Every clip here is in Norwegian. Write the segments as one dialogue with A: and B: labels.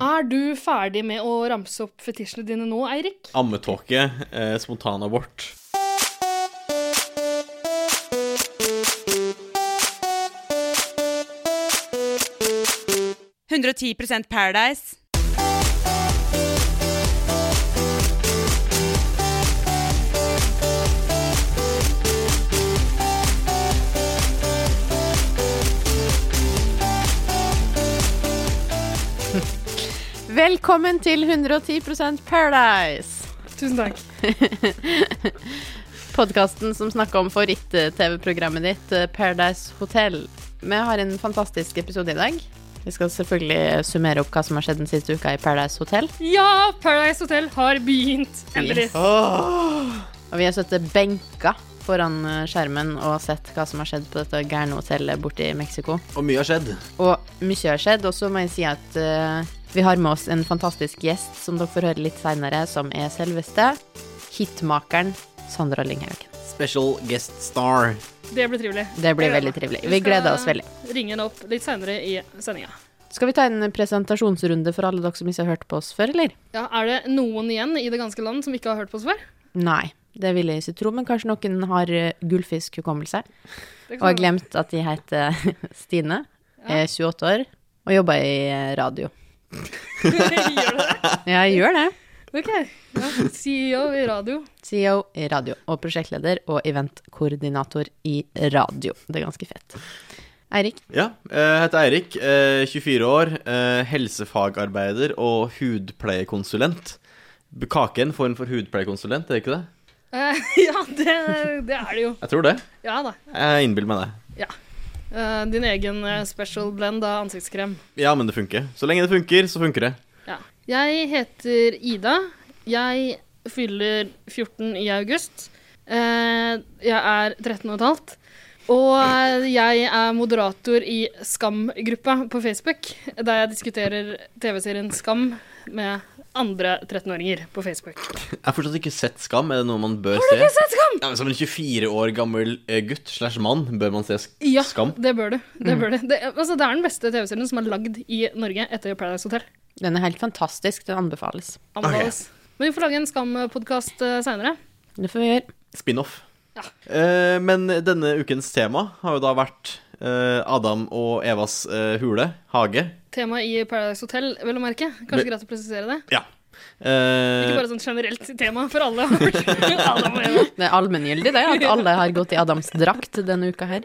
A: Er du ferdig med å ramse opp fetisjene dine nå, Eirik?
B: Ammetåke, eh, spontanabort.
C: Paradise.
D: Velkommen til 110 Paradise!
A: Tusen takk.
D: Podkasten som snakker om favoritt-TV-programmet ditt, eh, Paradise Hotel. Vi har en fantastisk episode i dag. Vi skal selvfølgelig summere opp hva som har skjedd den siste uka i Paradise Hotel.
A: Ja, Paradise Hotel har begynt. Endelig.
B: Ah.
D: Og vi har sittet benka foran eh, skjermen og sett hva som har skjedd på dette gærne hotellet borte i Mexico.
B: Og mye har skjedd.
D: Og mye har skjedd, og så må jeg si at eh, vi har med oss en fantastisk gjest som dere får høre litt seinere, som er selveste hitmakeren Sandra Lynghaugen.
B: Special guest star.
A: Det blir trivelig.
D: Det blir
A: Jeg gleder
D: veldig
A: meg.
D: trivelig.
A: Vi
D: Vi
A: skal-
D: gleder oss veldig.
A: Ring henne opp litt seinere i sendinga.
D: Skal vi ta en presentasjonsrunde for alle dere som ikke har hørt på oss før, eller?
A: Ja, er det noen igjen i det ganske land som ikke har hørt på oss før?
D: Nei, det vil jeg ikke tro, men kanskje noen har eh, gullfiskhukommelse
A: Det
D: og har glemt at de heter Stine, er 28 år og jobber i eh, radio.
A: Gjør det det?
D: Ja, jeg gjør det.
A: OK. Ja, CEO i radio.
D: CEO i radio og prosjektleder og eventkoordinator i radio. Det er ganske fett. Eirik,
B: Ja, jeg heter Eirik, eh, 24 år, eh, helsefagarbeider og hudpleiekonsulent. B- Kake er en form for hudpleiekonsulent, er det ikke det?
A: Eh, ja, det, det er det jo.
B: Jeg tror det.
A: Ja da.
B: Jeg innbiller meg det.
A: Eh, din egen eh, special blend av ansiktskrem.
B: Ja, men det funker. Så lenge det funker, så funker det.
A: Ja. Jeg heter Ida. Jeg fyller 14 i august. Eh, Jeg er 13 og et halvt. Og jeg er moderator i Skam-gruppa på Facebook, der jeg diskuterer TV-serien Skam med andre 13-åringer på Facebook.
B: Jeg har fortsatt ikke sett Skam. Er det noe man bør se? Har du ikke sett Skam? Ja, men som en 24 år gammel eh, gutt slash mann bør man se sk
A: Ja,
B: Skam.
A: det bør du. Det, bør du. Det, altså, det er den beste TV-serien som er lagd i Norge etter Paradise Hotel.
D: den er helt fantastisk, den anbefales.
A: Anbefales. Men vi får lage en eh, Skam-podkast seinere.
D: Det får vi gjøre.
B: Spin-off.
A: Ja.
B: Eh, men denne ukens tema har jo da vært eh, Adam og Evas eh, hule, hage.
A: Tema i Paradise Hotel, vel å merke.
B: Men-
A: Kanskje greit å presisere det?
B: Ja.
A: Ikke
B: Eh,
A: bare sånn generelt tema for alle. har vært Adam og Eva.
D: Det er allmenngyldig, det, at alle har gått i Adams drakt denne uka her.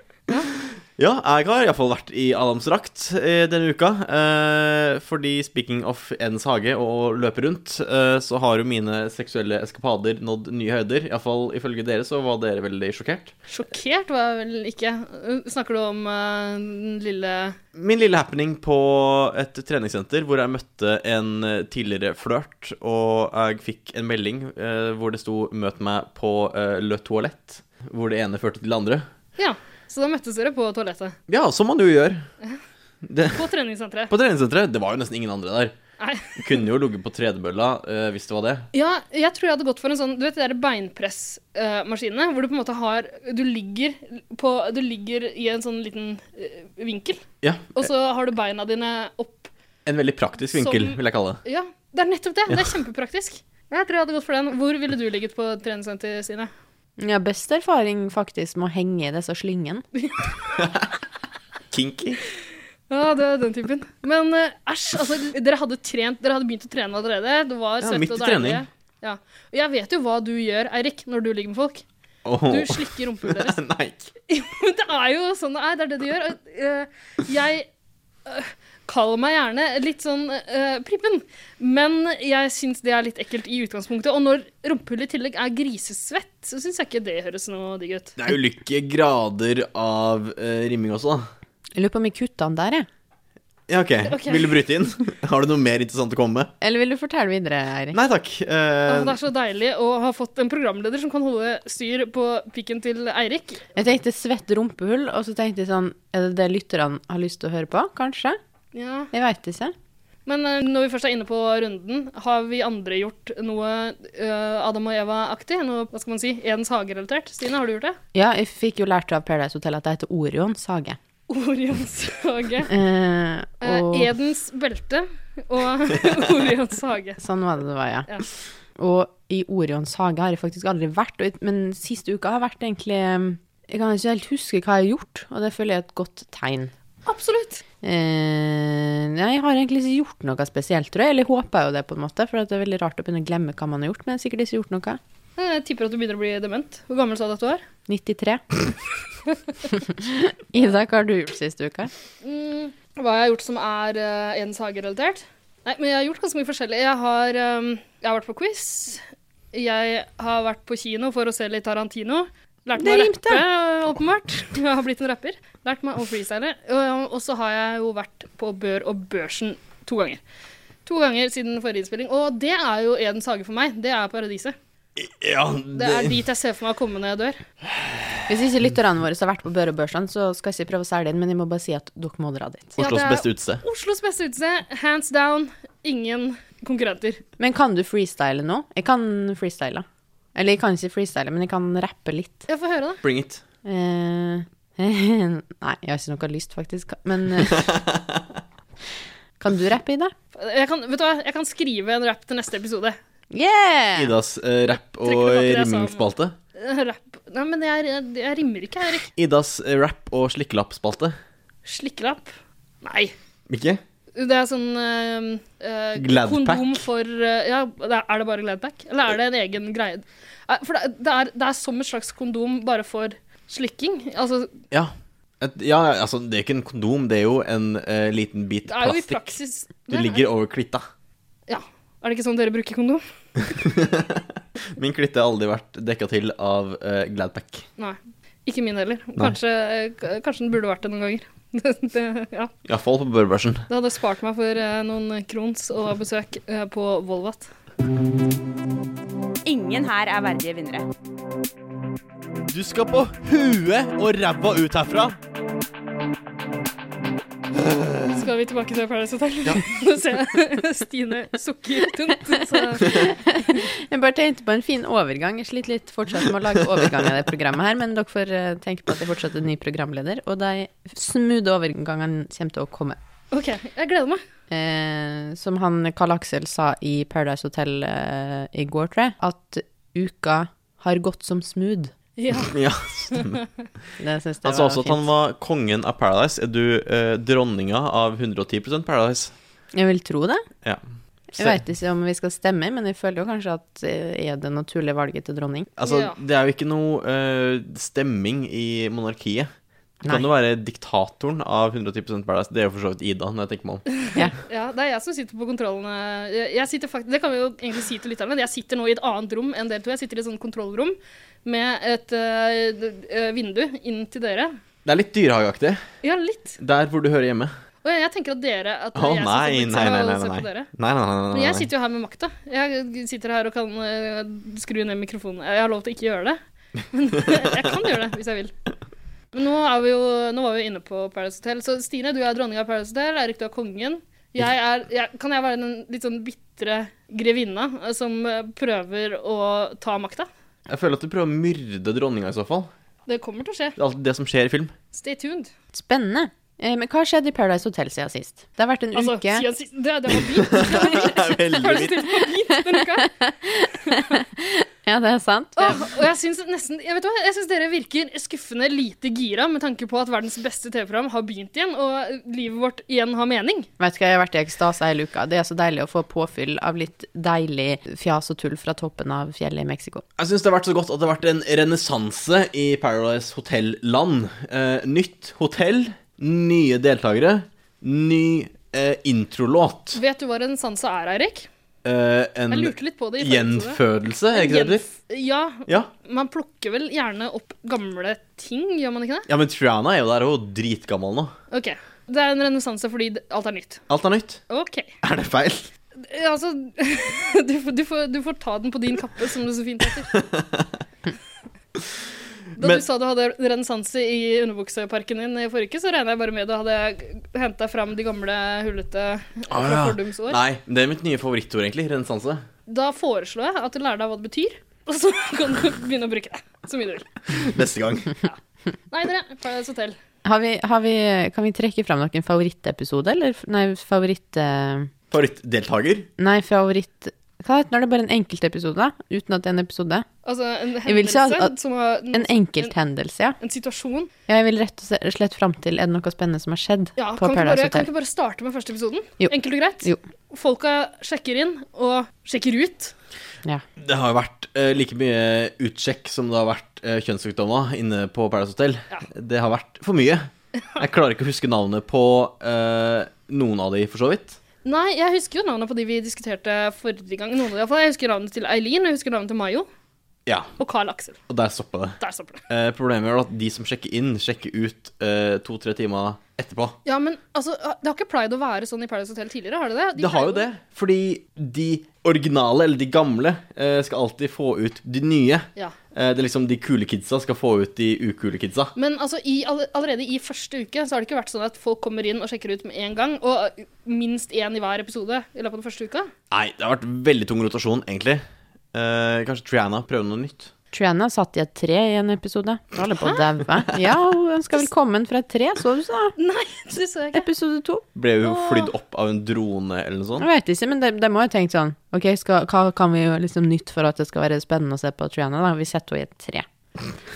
B: ja, jeg har iallfall vært i Adams drakt eh, denne uka. Eh, fordi speaking of ens hage og å løpe rundt, eh, så har jo mine seksuelle eskapader nådd nye høyder. Iallfall ifølge dere så var dere veldig sjokkert.
A: Sjokkert var jeg vel ikke. Uh, Snakker du om eh, den lille
B: Min lille happening på et treningssenter hvor jeg møtte en eh, tidligere flørt, og jeg fikk en melding eh, hvor det sto 'møt meg på eh, le toalett', hvor det ene førte til det andre.
A: Ja, så da møttes dere på toalettet.
B: Ja, som man jo gjør. Det,
A: På treningssenteret.
B: på treningssenteret. Det var jo nesten ingen andre der.
A: Nei.
B: Kunne jo ligget på tredemølla eh, hvis det var det.
A: Ja, jeg tror jeg hadde gått for en sånn Du vet de der beinpressmaskinene? eh, hvor du på en måte har Du ligger, på, du ligger i en sånn liten eh, vinkel,
B: Ja,
A: og så har du beina dine opp.
B: En veldig praktisk vinkel,
A: Som-
B: vil jeg kalle det.
A: Ja, det er nettopp det. Det er kjempepraktisk. Jeg tror jeg hadde gått for den. Hvor ville du ligget på treningssenteret, Stine?
D: Ja, best erfaring faktisk med å henge i disse slyngene.
B: Kinky.
A: Ja, det er den typen. Men eh, æsj, altså, dere hadde, trent, dere hadde begynt å trene allerede. Det var
B: Ja,
A: søtt
B: midt i
A: og deilig.
B: trening.
A: Ja. Og jeg vet jo hva du gjør, Eirik, når du ligger med folk.
B: Åh.
A: Du slikker rumpehullet deres.
B: Nei.
A: Men det er jo sånn det er. Det er det du gjør. Og, eh, jeg eh, kaller meg gjerne litt sånn eh, prippen, men jeg syns det er litt ekkelt i utgangspunktet. Og når rumpehullet i tillegg er grisesvett, så syns jeg ikke det høres noe digg ut.
B: Det er ulike grader av eh, rimming også, da.
D: Jeg lurer på om jeg kutta den der, jeg.
B: Ja, ok.
A: Ok.
B: Vil du bryte inn? Har du noe mer interessant å komme med?
D: Eller vil du fortelle videre, Eirik?
B: Nei takk. Eh,
A: Åh, det er så deilig å ha fått en programleder som kan holde styr på pikken til Eirik.
D: Jeg tenkte svett rumpehull, og så tenkte jeg sånn Er det det lytterne har lyst til å høre på? Kanskje?
A: Ja.
D: Jeg veit ikke.
A: Men eh, når vi først er inne på runden, har vi andre gjort noe eh, Adam og Eva-aktig? Noe, hva skal man si, Edens hage-relatert? Stine, har du gjort det?
D: Ja, jeg fikk jo lært av Paradise Hotel at det heter Orions hage.
A: Orions hage.
D: Eh,
A: Eh,
D: og
A: Edens belte og Orions hage.
D: sånn var det det var, ja.
A: Ja.
D: Og i Orions hage har jeg faktisk aldri vært, og, men siste uka har vært egentlig eh, Jeg kan ikke helt huske hva jeg har gjort, og det føler jeg er et godt tegn.
A: Absolutt.
D: Eh, nei, jeg har egentlig ikke gjort noe spesielt, tror jeg. Eller jeg håper jo det, på en måte, for at det er veldig rart å begynne å glemme hva man har gjort. Men jeg har sikkert ikke gjort noe.
A: Eh, Jeg tipper at du begynner å bli dement. Hvor gammel sa du at du var?
D: 93. Ida, hva har du gjort siste uka?
A: Mm, hva jeg har gjort som er eh, Edens hage-relatert? Nei, men jeg har gjort ganske mye forskjellig. Jeg har, eh, jeg har vært på quiz. Jeg har vært på kino for å se litt Tarantino. Lært meg å
D: Det rimte.
A: rappe, eh, åpenbart. Jeg har blitt en rapper. Lært meg å freestyle. Og- Og så har jeg jo vært på Bør og Børsen to ganger. To ganger siden forrige innspilling. Og det er jo Edens hage for meg. Det er paradiset.
B: ja,
A: Det er dit jeg ser for meg å komme når jeg dør.
D: Hvis ikke lytterne våre har vært på Børe og Børsland, så skal jeg ikke prøve å selge inn, men jeg må bare si at dere må dra dit.
A: Ja,
B: Oslos
A: det er-
B: beste utested.
A: Oslos beste utested. Hands down. Ingen konkurrenter.
D: Men kan du freestyle nå? Jeg kan freestyle. Eller jeg kan ikke freestyle, men jeg kan rappe litt.
A: Jeg får høre, da.
B: Bring it.
D: Eh, nei, jeg har ikke noe lyst, faktisk. Men eh, Kan du rappe, Ida?
A: Jeg kan, vet du hva, jeg kan skrive en rap til neste episode.
D: Yeah!
B: Idas eh, rapp og
A: tilbake det jeg sa om-
B: rimmingsspalte.
A: Eh, Rap Nei, men jeg, jeg, jeg rimmer ikke, Erik.
B: Idas eh, rapp og slikkelappspalte.
A: Slikkelapp? Nei.
B: Ikke?
A: Det er sånn eh, eh,
B: Gladpack?
A: Kondom for eh, Ja, det er er det bare Gladpack? Eller er det en egen greie? Eh, For det, det, er, det er som et slags kondom bare for slikking. Altså,
B: Ja. Et, ja, altså, det er jo ikke en kondom, det er jo en eh, liten bit
A: det er jo i
B: plastikk.
A: praksis
B: Du
A: det er-
B: ligger over klitta.
A: Ja. Er det ikke sånn dere bruker kondom?
B: Min klitte har aldri vært dekka til av eh, Gladpack.
A: Nei. Ikke min heller.
B: Nei.
A: Kanskje, eh, k- kanskje den burde vært det noen ganger. det, det, ja.
B: Iallfall på børbørsen.
A: Det hadde spart meg for eh, noen krons og besøk eh, på Volvat.
C: Ingen her er verdige vinnere.
B: Du skal på huet og ræva ut herfra.
A: Skal vi tilbake til Paradise Hotel? Nå ser jeg Stine sukker tungt. Så
D: Jeg bare tenkte på en fin overgang. Jeg sliter litt fortsatt med å lage overgang av det programmet her, men dere får eh, tenke på at jeg fortsatt er ny programleder, og de smoothe overgangene kommer til å komme.
A: OK, jeg gleder meg.
D: Eh, som han Karl Aksel sa i Paradise Hotel eh, i går, tror jeg, at uka har gått som smooth.
A: Ja.
B: Ja.
D: Det syns jeg
B: Han sa
D: var
B: også at
D: fint.
B: han var kongen av Paradise. Er du eh, dronninga av 110 Paradise?
D: Jeg vil tro det.
B: Ja.
D: Jeg veit ikke om vi skal stemme, men jeg føler jo kanskje at eh, er det naturlige valget til dronning.
B: Altså,
A: Ja.
B: det er jo ikke noe eh, stemming i monarkiet. Du kan
D: Nei.
B: jo være diktatoren av 110 Paradise. Det er jo for så vidt Ida, når jeg tenker meg om.
A: ja. Det er jeg som sitter på kontrollene. Jeg jeg sitter fakt det kan vi jo egentlig si til lytterne. Jeg sitter nå i et annet rom enn dere to. Jeg sitter i et sånt kontrollrom med et eh, d- eh, vindu inn til dere.
B: Det er litt dyrehageaktig.
A: Ja, litt.
B: Der hvor du hører hjemme.
A: Og jeg, jeg tenker at dere at det
B: Å
A: er jeg som
B: nei,
A: sitter
B: nei, nei, nei,
A: og ser
B: nei.
A: på
B: nei,
A: dere.
B: nei, nei, nei,
A: Men
B: nei,
A: jeg
B: nei.
A: sitter jo her med makta. Jeg sitter her og kan eh, skru ned mikrofonen. Jeg har lov til å ikke gjøre det, men jeg kan gjøre det hvis jeg vil. Men nå, er vi jo, nå var vi jo inne på Paradise Hotel. Så Stine, du er dronninga av Paradise Hotel. Eirik, du er kongen. Jeg er, jeg, kan jeg være den litt sånn bitre grevinna eh, som eh, prøver å ta makta?
B: Jeg føler at du prøver å myrde dronninga i så fall.
A: Det kommer til å skje.
B: Det er alltid det som skjer i film.
A: Stay tuned.
D: Spennende. Eh, men hva har skjedd i Paradise Hotel siden sist? Det har vært en
A: Altså,
D: uke
A: siden sist- det, det var fint.
B: Det er veldig
A: Paradise
B: vidt.
A: Hotel var fint denne uka.
D: Ja, det er sant.
A: Åh, og jeg syns nesten Jeg vet hva, jeg syns dere virker skuffende lite gira med tanke på at verdens beste TV-program har begynt igjen, og livet vårt igjen har mening.
D: Vet du hva, jeg har vært i ekstase hele uka. Det er så deilig å få påfyll av litt deilig fjas og tull fra toppen av fjellet i Mexico.
B: Jeg syns det har vært så godt at det har vært en renessanse i Paradise Hotel-land. Eh, nytt hotell, nye deltakere, ny eh, introlåt.
A: Vet du hva en sansa er, Eirik?
B: Eh, en
A: Jeg lurte litt på det. i forrige episode.
B: gjenfødelse, er ikke det det? heter?
A: Gjenf- Ja,
B: Ja.
A: man plukker vel gjerne opp gamle ting, gjør man ikke det?
B: ja, men Triana er jo der, hun er jo dritgammel nå.
A: Ok, Det er en renessanse fordi det- alt er nytt.
B: Alt er nytt.
A: OK.
B: Er det feil?
A: Eh, Altså du, får- du, får, du får ta den på din kappe, som det så fint heter. Da
B: Men-
A: du sa du hadde renessanse i underbukseparken din i forrige uke, så regner jeg bare med du hadde henta fram de gamle hullete
B: Ah,
A: fra
B: ja.
A: fordums år.
B: Nei, det er mitt nye favorittord, egentlig. Renessanse.
A: Da foreslår jeg at du lærer deg hva det betyr, og så kan du begynne å bruke det så mye du vil.
B: Neste gang.
A: Nei, dere, Paradise Hotel.
D: Har vi, har vi, kan vi trekke fram noen favorittepisode, eller f- Nei, favoritt... eh,
B: Favorittdeltaker?
D: Nei, favoritt... Hva heter det? Nå er det bare en enkeltepisode, da, uten at det er en episode.
A: Altså en
D: Jeg vil si at-
A: hendelse som har en,
D: En enkelthendelse, ja.
A: en situasjon.
D: Ja, Jeg vil rett og slett fram til er det noe spennende som har skjedd
A: Ja,
D: på
A: kan vi, ikke bare, kan
D: Paradise
A: vi
D: Hotel.
A: ikke bare starte med første episoden?
D: Jo.
A: Enkelt og greit.
D: Jo.
A: Folka sjekker inn og sjekker ut.
D: Ja.
B: Det har jo vært eh, like mye utsjekk som det har vært uh, kjønnssykdommer inne på Paradise Hotel.
A: Ja.
B: Det har vært for mye. Jeg klarer ikke å huske navnet på eh, noen av de, for så vidt.
A: Nei, jeg husker jo navnet på de vi diskuterte forrige gang. Noen av de, i hvert fall. Jeg husker navnet til Eileen, og jeg husker navnet til Mayo
B: Ja,
A: og Carl Aksel.
B: og der stoppa det.
A: Der stopper det.
B: Eh, problemet er at de som sjekker inn, sjekker ut eh, to-tre timer etterpå.
A: Ja, men altså, det har ikke pleid å være sånn i Paradise Hotel tidligere, har det det? De
B: Det har jo det,
A: pleier
B: fordi de originale, eller de gamle, eh, skal alltid få ut de nye.
A: Ja.
B: Eh, det er liksom de kule kidsa skal få ut de ukule kidsa.
A: Men altså, i, alle- allerede i første uke så har det ikke vært sånn at folk kommer inn og sjekker ut med en gang, og uh, minst én i hver episode i løpet av den første uka.
B: Nei, det har vært veldig tung rotasjon, egentlig. Eh, kanskje Triana prøver noe nytt.
D: Triana satt i et tre i en episode. Hun holder på å daue. Ja, hun ønska velkommen fra et tre, så du sa.
A: Nei, det så jeg ikke.
D: Episode to.
B: Ble hun flydd opp av en drone eller noe
D: Jeg
B: sånt?
D: vet ikke, men de, de må jo tenke sånn Ok, skal, hva kan vi gjøre liksom nytt for at det skal være spennende å se på Triana? Da? Vi setter henne i et tre.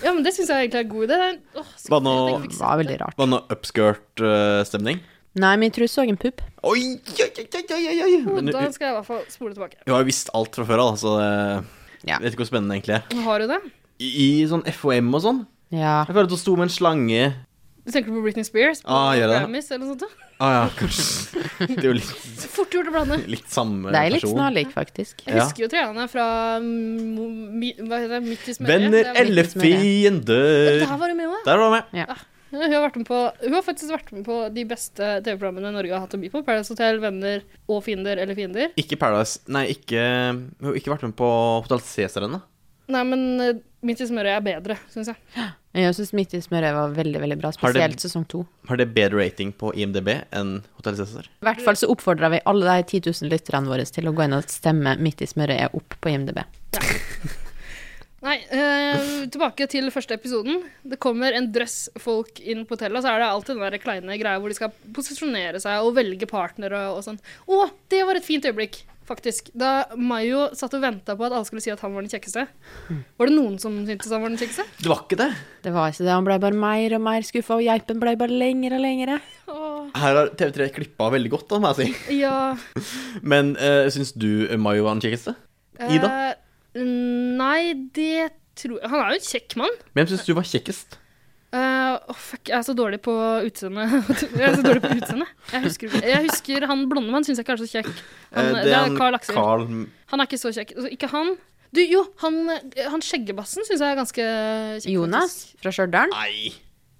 A: Ja, men det syns jeg egentlig er en god idé. Det er- Åh,
B: Hva
A: skuffende
B: nå-
A: at jeg ikke fikk
D: Det
A: sett
D: var
A: det.
D: veldig rart.
B: Var det noe upskirt-stemning?
D: Nei, men jeg tror jeg så en pupp.
B: Oi, oi, oi, oi, oi, oi, oi. Men
A: Da
B: hun,
A: skal jeg i hvert fall spole tilbake.
B: hun har jo visst alt fra før av, så det
D: Ja.
B: jeg vet ikke hvor spennende det egentlig er.
A: Har du det?
B: I, i sånn FOM og sånn
D: Ja.
B: Jeg føler at hun sto med en slange
A: Du tenker på Britney Spears? På
B: Ah, gjør jeg det?
A: Grammys eller noe sånt? da?
B: Ah ja, kanskje. Det er jo litt,
A: Fort gjort å blande.
B: litt samme
D: Det er litt
B: person.
D: snarlik, faktisk.
A: Jeg
B: Ja.
A: husker jo Triana fra mm, mi, Hva heter det? Midt i smøret.
B: Venner
A: Det er-
B: eller fiender.
A: Der var hun med òg.
B: Der var hun med.
A: Ja, hun, har vært med på, hun har faktisk vært med på de beste TV-programmene Norge har hatt å by på. Paradise Hotel, Venner og Fiender eller Fiender.
B: Ikke Paradise Nei, ikke Hun har ikke vært med på Hotell Cæsar ennå.
A: Nei, men eh, Midt i smøret er bedre, syns jeg.
D: Jeg syns Midt i smøret var veldig, veldig bra.
B: Har det-
D: Spesielt sesong to.
B: Har det bedre rating på IMDb enn Hotell Cæsar?
D: I hvert fall så oppfordrer vi alle de 10 000 lytterne våre til å gå inn og stemme midt i smøret er opp på IMDb.
A: Nei, eh, tilbake til første episoden. Det kommer en drøss folk inn på hotellet, og så er det alltid den der kleine greia hvor de skal posisjonere seg og velge partnere og sånn. Å, det var et fint øyeblikk, faktisk. Da Mayo satt og venta på at alle skulle si at han var den kjekkeste. Var det noen som syntes han var den kjekkeste?
B: Det var ikke det.
D: Det var ikke det, han ble bare mer og mer skuffa, og geipen ble bare lengre og lengre.
A: Åh,
B: Her har TV3 klippa veldig godt, da, må jeg si.
A: ja.
B: Men uh, syns du Mayo var den kjekkeste? Ida?
A: Eh, nei, det tror jeg Han er jo en kjekk mann.
B: Hvem syns du var kjekkest?
A: Eh, åh, fuck, jeg er så dårlig på utseende. jeg er så dårlig på utseende. Jeg husker, ikke- jeg husker han blonde mannen syns jeg ikke er så kjekk. Han,
B: Eh,
A: det, er Carl Aksel.
B: Carl
A: Han er ikke så kjekk. Altså, ikke han. Du, jo, han, han skjeggebassen syns jeg er ganske kjekk.
D: Jonas
A: faktisk.
D: fra Stjørdal.
B: Nei.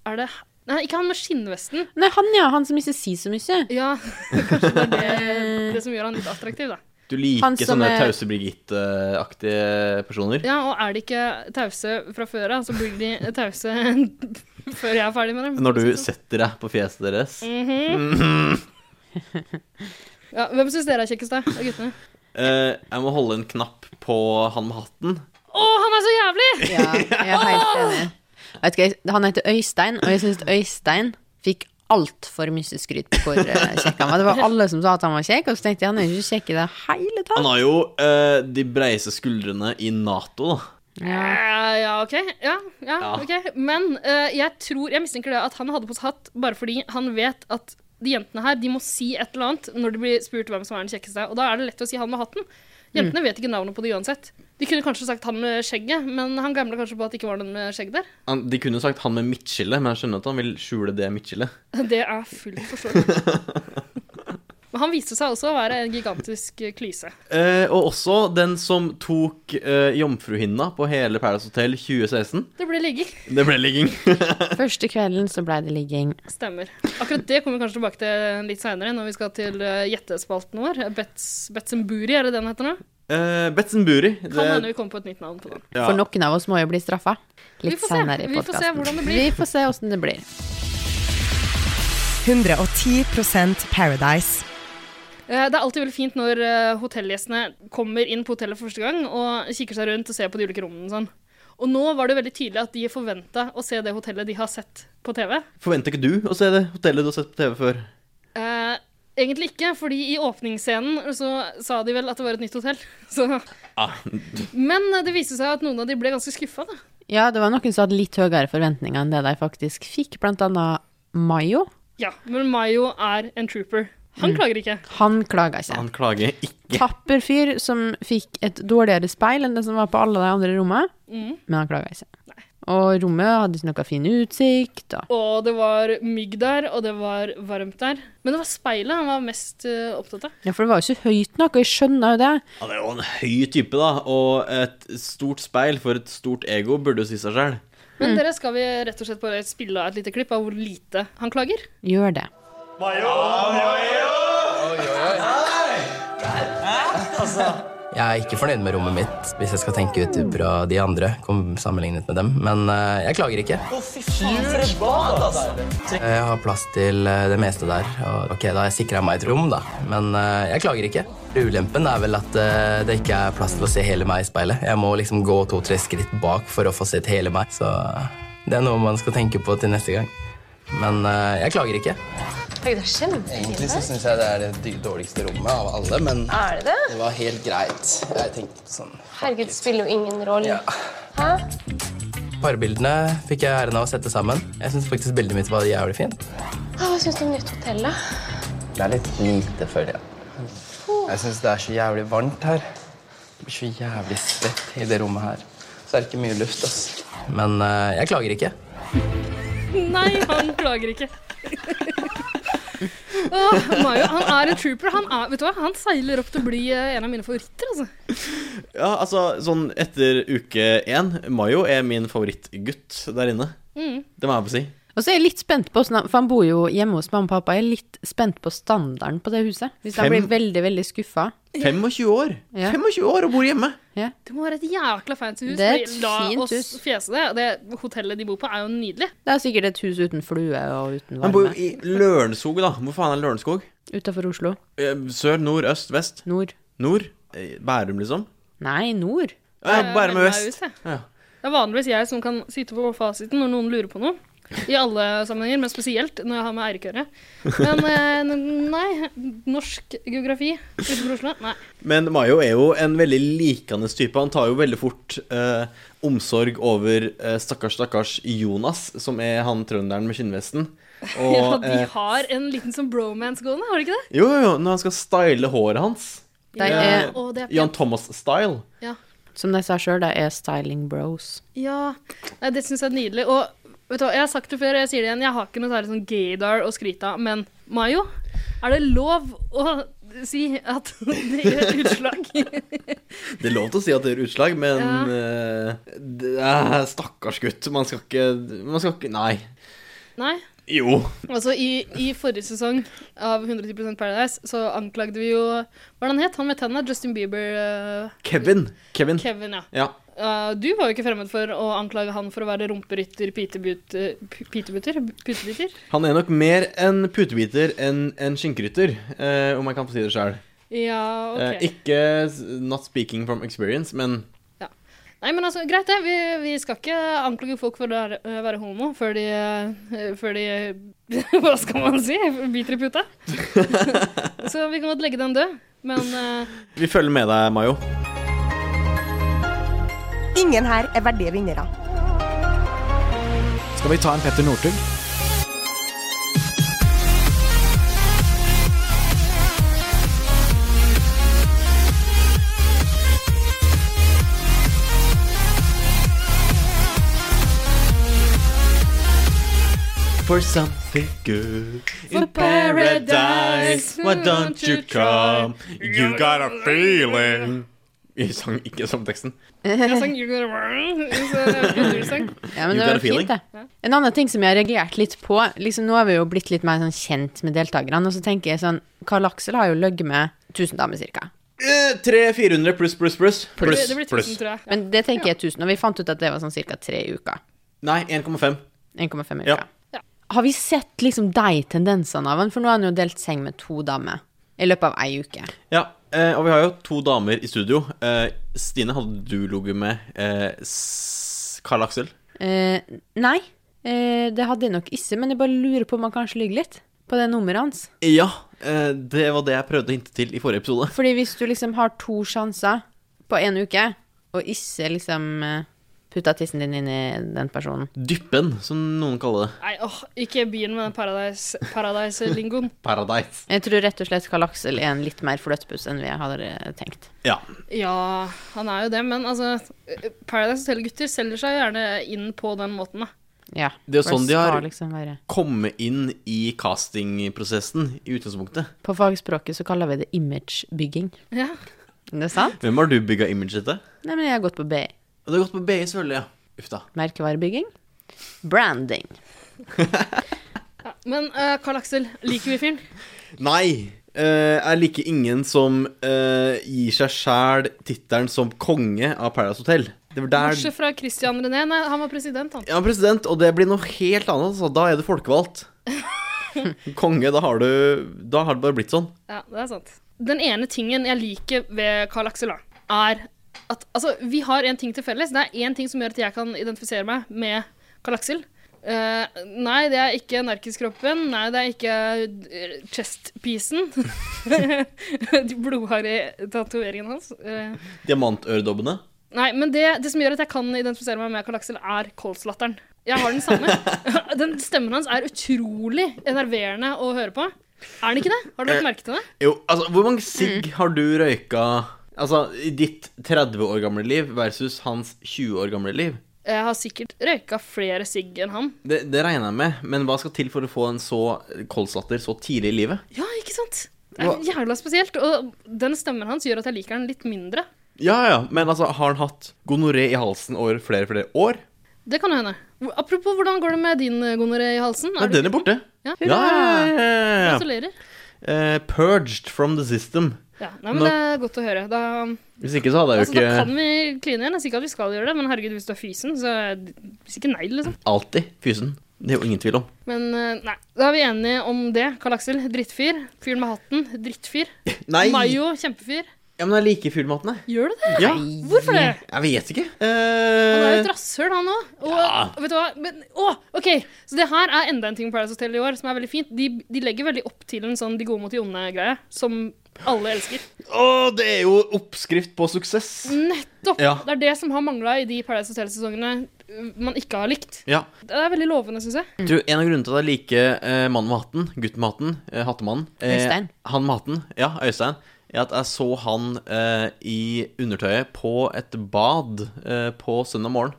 A: Er det Nei, ikke han med skinnvesten.
D: Nei, han ja, han som ikke sier så mye.
A: Ja, kanskje det er det, det som gjør han litt attraktiv, da.
B: Du
D: Han
B: liker
D: som
B: sånne
D: er-
B: tause Birgitte-aktige personer?
A: Ja, og er de ikke tause fra før av, så blir de tause før jeg er ferdig med dem.
B: Når du setter deg på fjeset deres
A: Mm. Ja, hvem syns dere er kjekkest, da? Av guttene?
B: Eh, Jeg må holde en knapp på han med hatten.
A: Å, han er så jævlig!
D: Ja, jeg er helt enig. Vet ikke, han heter Øystein, og jeg syns Øystein fikk altfor mye skryt på hvor eh, kjekk han var. Det var alle som sa at han var kjekk, og så tenkte jeg han er jo ikke kjekk i det hele
B: Han
D: tatt.
B: har jo eh, de breise skuldrene i Nato, da.
D: Ja.
A: Eh, ja, OK. Ja, ja,
B: Ja.
A: ok. Men eh, jeg tror, jeg mistenker det at han hadde på seg hatt bare fordi han vet at de jentene her de må si et eller annet når de blir spurt hvem som er den kjekkeste. Og da er det lett å si han med hatten. Jentene vet ikke navnet på det uansett. De kunne kanskje sagt han med skjegget, men han gamla kanskje på at det ikke var noen med skjegg der.
B: Han, de kunne jo sagt han med midtskille, men jeg skjønner at han vil skjule det midtskillet.
A: Det er fullt forståelig. Men han viste seg også å være en gigantisk eh, klyse.
B: Eh, og også den som tok eh, jomfruhinna på hele Paradise Hotel 2016.
A: Det ble ligging.
B: Det ble ligging.
D: Første kvelden så blei det ligging.
A: Stemmer. Akkurat det kommer vi kanskje tilbake til litt seinere, når vi skal til eh, gjettespalten vår. Bets, Betsemburi, er det den heter nå?
B: Eh, Betzenburi. det-
A: Kan hende vi kommer på et nytt navn på den.
B: ja.
D: For noen av oss må jo bli straffa.
A: Vi
D: Litt
A: får se.
D: senere i
A: Vi får se
D: podkasten.
A: hvordan det blir.
D: Vi får se åssen det blir.
C: 110 Paradise.
A: Eh, Det er alltid veldig fint når eh, hotellgjestene kommer inn på hotellet for første gang og kikker seg rundt og ser på de ulike rommene. og Sånn. Og nå var det veldig tydelig at de forventa å se det hotellet de har sett på TV.
B: Forventer ikke du å se det hotellet du har sett på TV før?
A: Eh, egentlig ikke, fordi i åpningsscenen så sa de vel at det var et nytt hotell. Så.
B: Ah.
A: Men eh, det viste seg at noen av de ble ganske skuffa. da.
D: Ja, det var noen som hadde litt høyere forventninger enn det de faktisk fikk, blant annet Mayo.
A: Ja, men Mayo er en trooper. Han klager ikke.
D: Han klaga ikke.
B: Han klager ikke.
D: Tapper fyr som fikk et dårligere speil enn det som var på alle de andre rommene,
A: Mm.
D: men han klaga ikke. Og rommet hadde ikke noe fin utsikt. Og
A: Og det var mygg der, og det var varmt der. Men det var speilet han var mest eh, opptatt av.
D: ja, for det var jo ikke høyt nok, og jeg skjønner jo det.
B: Han er jo en høy type, da. Og et stort speil for et stort ego burde jo si seg sjøl.
D: Mm.
A: Men dere skal vi rett og slett bare spille av et lite klipp av hvor lite han klager.
D: Gjør det.
E: Jeg er ikke fornøyd med rommet mitt, hvis jeg skal tenke ut fra de andre. kom- sammenlignet med dem, Men eh, jeg klager ikke. Eh, Jeg har plass til eh, det meste der. Og, ok, Da har jeg sikra meg et rom, da. Men eh, jeg klager ikke. Ulempen er vel at eh, det ikke er plass til å se hele meg i speilet. Jeg må liksom gå to-tre skritt bak for å få sett hele meg. Så eh, det er noe man skal tenke på til neste gang. Men eh, jeg klager ikke. Egentlig så syns jeg det er det dårligste rommet av alle, men
F: Er det det?
E: det var helt greit. Jeg tenkte sånn
F: Herregud, det spiller jo ingen rolle.
E: Ja.
F: Hæ?
E: Parbildene fikk jeg æren av å sette sammen. Jeg syns faktisk bildet mitt var jævlig fint.
F: Å, Hva syns du om nytt hotell, da?
E: Det er litt lite, føler jeg. Jeg syns det er så jævlig varmt her. Jeg blir så jævlig svett i det rommet her. Så er det ikke mye luft, ass. Men eh, jeg klager ikke.
A: Nei, han klager ikke. Åh, Mayo, han er en trooper. Han, er, vet du hva? han seiler opp til å bli eh, en av mine favoritter. Altså.
B: Ja, altså, sånn etter uke én Mayo er min favorittgutt der inne. Det må jeg få si.
D: Og så er jeg litt spent på, hvordan han- for han bor jo hjemme hos mamma og pappa, jeg er litt spent på standarden på det huset. Hvis han
B: Fem-
D: blir veldig, veldig skuffa.
B: 25 år!
D: Ja.
B: 25 år og bor hjemme!
D: Ja.
A: Det må være et jækla fancy hus.
D: Det er et
A: fordi La
D: fint
A: oss
D: hus.
A: fjese det. Det hotellet de bor på, er jo nydelig.
D: Det er sikkert et hus uten flue og uten
B: Han bor jo
D: varme.
B: i Lørenskog, da. Hvor faen er Lørenskog?
D: Utafor Oslo.
B: Eh, Sør, nord, øst, vest?
D: Nord.
B: Nord? Eh, Bærum, liksom?
D: Nei, nord.
B: Ja,
A: Eh,
B: Bærum
A: men
B: er
A: det er
B: vest.
A: jo ikke.
B: Ja.
A: Det er vanligvis jeg som kan sitte på fasiten når noen lurer på noe. I alle sammenhenger, men spesielt når jeg har med Eirik å gjøre. Men eh, n- nei. Norsk geografi utenfor Oslo? Nei.
B: Men Mayo er jo en veldig likende type. Han tar jo veldig fort eh, omsorg over eh, stakkars, stakkars Jonas, som er han trønderen med skinnvesten. Og,
A: Ja, de
B: eh,
A: har en liten sånn bromance gående, har de ikke det?
B: jo, jo, jo, når han skal style håret hans.
D: Det er,
A: Å, det er
B: eh, Jan Thomas-style.
A: Ja.
D: som de sa sjøl, det er styling bros.
A: ja. Nei, det syns jeg er nydelig. Og vet du hva, jeg har sagt det før, og jeg sier det igjen, jeg har ikke noe særlig sånn gaydar å skryte av, men Mayo, er det lov å si at det gjør utslag?
B: Det er lov til å si at det gjør utslag, men
A: Ja.
B: eh, det er Stakkars gutt. Man skal ikke Man skal ikke Nei.
A: Nei?
B: Jo.
A: Altså, i, i forrige sesong av 110 Paradise så anklagde vi jo Hva er det han het? Han med tenna? Justin Bieber? eh,
B: Kevin. Kevin.
A: Kevin, ja.
B: Ja.
A: Eh, du var jo ikke fremmed for å anklage han for å være rumperytter, pitebut, eh, p- pitebutter? Putebytter?
B: Han er nok mer en putebiter enn en skinkerytter, eh, om jeg kan få si det sjøl.
A: Ja, ok.
B: Eh, ikke s- not speaking from experience, men
A: Nei, men altså, greit det. Vi, vi skal ikke anklage folk for å være, å være homo før de, eh, før de Hva skal man si? Biter i puta. så vi kan godt legge den død. Men eh,
B: vi følger med deg, Mayo.
C: Ingen her er verdige vinnere.
G: Skal vi ta en Petter Northug?
B: for something good
A: For
B: in paradise. Why don't you come? You got a feeling. Vi sang ikke som teksten.
A: Jeg sang You Got a World, så det var ikke du sang.
D: Ja,
B: You
D: men det
B: got
D: var
B: a feeling.
D: fint, det. En annen ting som jeg har reagert litt på liksom Nå har vi jo blitt litt mer sånn kjent med deltakerne, og så tenker jeg sånn Karl Aksel har jo løyet med 1000 damer, cirka.
B: Eh, 300-400 pluss, pluss, pluss.
A: Det,
B: Pluss,
A: det blir
B: pluss.
A: 1000, tror jeg.
D: Men det tenker jeg er 1000, og vi fant ut at det var sånn cirka tre uker.
B: Nei, 1,5.
D: 1,5 uker.
B: Ja.
A: Ja.
D: Har vi sett liksom de tendensene av han? For nå har han jo delt seng med to damer i løpet av ei uke.
B: Ja, eh, og vi har jo to damer i studio. Eh, Stine, hadde du ligget med eh, s- Karl Aksel?
D: Eh, nei, eh, det hadde jeg nok ikke, men jeg bare lurer på om han kanskje lyver litt på det nummeret hans.
B: Ja, eh, det var det jeg prøvde å hinte til i forrige episode.
D: Fordi hvis du liksom har to sjanser på en uke, og ikke liksom eh, putter tissen din inn i den personen
B: Dyppen, som noen kaller det.
A: Nei, åh, ikke begynn med den paradise- paradise-lingoen.
B: Paradise.
D: Jeg tror rett og slett Karl Aksel er en litt mer fløtepus enn vi hadde eh, tenkt.
B: Ja.
A: ja, han er jo det, men altså Paradise Hotel-gutter selger seg gjerne inn på den måten, da.
D: Ja.
B: Det er jo
D: for
B: sånn de har-
D: skal liksom være.
B: Komme inn i castingprosessen i utgangspunktet.
D: På fagspråket så kaller vi det imagebygging.
A: Ja.
D: Er det sant?
B: Hvem har du bygga imaget til?
D: Nei, men jeg har gått på BI.
B: Og det har gått på BI selvfølgelig, ja. Uff da.
D: Merkevarebygging. Branding.
A: Men eh, Karl Aksel, liker vi fyren?
B: Nei. eh, jeg liker ingen som eh, gir seg sjæl tittelen som konge av Paradise Hotel. Det var der
A: Bortsett fra Christian René. Nei, han var president, han.
B: Ja, president, og det blir noe helt annet. Altså. Da er du folkevalgt. Konge, da har du Da har det bare blitt sånn.
A: Ja, det er sant. Den ene tingen jeg liker ved Carl Axel, da, er at altså, vi har en ting til felles. Det er én ting som gjør at jeg kan identifisere meg med Carl Axel. Eh, nei, det er ikke narkiskroppen. Nei, det er ikke eh, chestpiecen. De blodharde tatoveringene hans. Eh,
B: Diamantøredobbene.
A: Nei, men det, det som gjør at jeg kan identifisere meg med Karl Aksel, er kolslatteren. Jeg har den samme. Den stemmen hans er utrolig enerverende å høre på. Er den ikke det? Har du lagt merke til det?
B: Jo, altså, hvor mange sigg
A: Mm.
B: har du røyka Altså, i ditt 30 år gamle liv versus hans 20 år gamle liv?
A: Jeg Eh, har sikkert røyka flere sigg enn han.
B: Det, det regner jeg med, men hva skal til for å få en så kolslatter så tidlig i livet?
A: Ja, ikke sant? Det er jævla spesielt. Og den stemmen hans gjør at jeg liker den litt mindre.
B: Ja ja, men altså, har han hatt gonoré i halsen over flere flere år?
A: Det kan hende. Hvor- Apropos, hvordan går det med din eh, gonoré i halsen?
B: Nei,
A: Er du
B: den er borte.
A: Ja.
B: ja, ja, ja, ja, ja.
A: Gratulerer.
B: Eh, purged from the system.
A: Ja, nei, men
B: Nå-
A: Det er godt å høre. Da,
B: Hvis ikke så hadde jeg jo
A: altså, da kan
B: ikke
A: vi kline igjen. Jeg sier ikke at vi skal gjøre det, men herregud, hvis du er fysen, så er det- hvis ikke nei, liksom.
B: alltid fysen. Det er jo ingen tvil om.
A: Men eh, nei, da er vi enige om det. Karl Aksel, drittfyr. Fyren med hatten, drittfyr.
B: Nei!
A: Mayo, kjempefyr.
B: Ja, men jeg liker fuglematen, jeg.
A: Gjør du det?
B: Ja,
A: Hvorfor det?
B: jeg vet ikke.
A: Han er jo
B: Eh,
A: et rasshøl, han òg. Og
B: Ja.
A: vet du hva Men, å, OK! Så det her er enda en ting på Paradise Hotel i år som er veldig fint. De, de legger veldig opp til en sånn de gode mot de onde-greie, som alle elsker.
B: Å, det er jo oppskrift på suksess.
A: Nettopp!
B: Ja.
A: Det er det som har mangla i de Paradise Hotel-sesongene uh, man ikke har likt.
B: Ja.
A: Det er veldig lovende, syns jeg.
B: Du, en av grunnene til at jeg liker eh, mannen med hatten, gutten med hatten, eh, hattemannen eh,
D: Øystein.
B: Han med hatten, ja, Øystein, er at jeg så han eh, i undertøyet på et bad eh, på søndag morgen.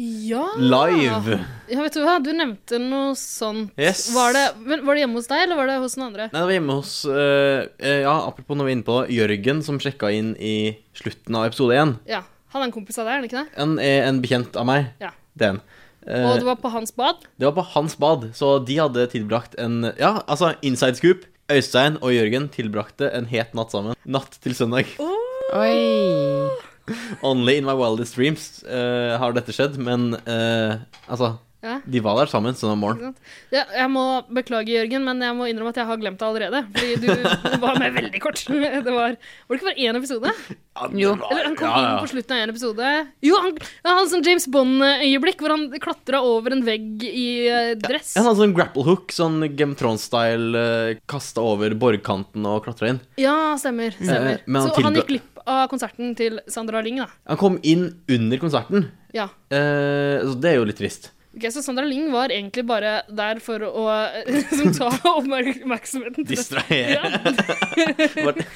A: Ja.
B: Live.
A: Ja, vet du hva, du nevnte noe sånt.
B: Yes.
A: Var, det, men var det hjemme hos deg, eller var det hos noen andre?
B: Nei, det var hjemme hos eh, eh, Ja, apropos når vi er inne på Jørgen, som sjekka inn i slutten av episode én.
A: Ja, Han er en kompis av deg, er han ikke det?
B: Han er en bekjent av meg.
A: Ja.
B: Det er han. Eh,
A: Og det var på hans bad?
B: Det var på hans bad, så de hadde tilbrakt en Ja, altså, inside scoop. Øystein og Jørgen tilbrakte en het natt sammen. Natt til søndag.
D: Oi.
B: Only in my wildest dreams eh, har dette skjedd, men eh, altså
A: Ja.
B: De var der sammen søndag morgen.
A: Ikke sant? Ja, jeg må beklage, Jørgen, men jeg må innrømme at jeg har glemt det allerede. Fordi du var med veldig kort. Det var, var det ikke bare én episode?
D: Jo.
A: Eller han kom
B: Ja, ja.
A: inn på slutten av én episode. Jo, han, han hadde sånn James Bond-øyeblikk hvor han klatra over en vegg i eh, dress.
B: En sånn grapple hook, sånn Game of Thrones-style, uh, kasta over borgkanten og klatra inn.
A: Ja, stemmer. stemmer.
B: Eh, men han
A: Så han
B: tilbød-
A: gikk glipp av konserten til Sandra Lyng, da.
B: Han kom inn under konserten,
A: Ja.
B: eh, så det er jo litt trist.
A: Ok, Så Sandra Lyng var egentlig bare der for å liksom, ta oppmerksomheten til
B: Distrahere.
A: Ja,
B: Bare-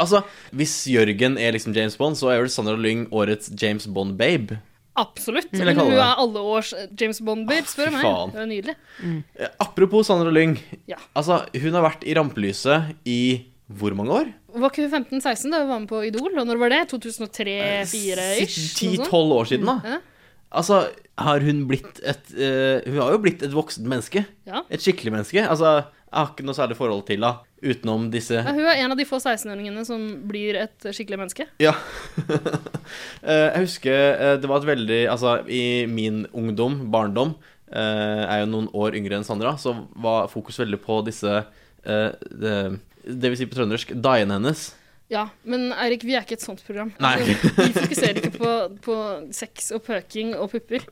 B: altså, hvis Jørgen er liksom James Bond, så er vel Sandra Lyng årets James Bond-babe.
A: Absolutt.
B: Vil jeg
A: Hun
B: kalle
A: er
B: det.
A: alle års James Bonder,
B: fy
A: spør du meg.
B: faen.
A: Det er nydelig.
B: Eh, Apropos Sandra Lyng.
A: Ja.
B: Altså, hun har vært i rampelyset i hvor mange år?
A: Var ikke hun 15-16 da hun var med på Idol? Og når var
B: Eh,
A: det? Eh, 2003-2004-ish?
B: Ti-tolv år siden, da.
A: Mm, Ja.
B: Altså, har hun blitt et eh, Hun har jo blitt et voksent menneske.
A: Ja.
B: Et skikkelig menneske. Altså, jeg har ikke noe særlig forhold til henne utenom disse
A: Ja, hun er en av de få 16-åringene som blir et skikkelig menneske.
B: Ja. Eh, jeg husker eh, det var et veldig Altså, i min ungdom, barndom, eh, jeg er jo noen år yngre enn Sandra, så var fokus veldig på disse eh, det, det vil si på trøndersk dagen hennes.
A: Ja, men Eirik, vi er ikke et sånt program.
B: Nei.
A: Altså, vi fokuserer ikke på, på sex og pøking og pupper.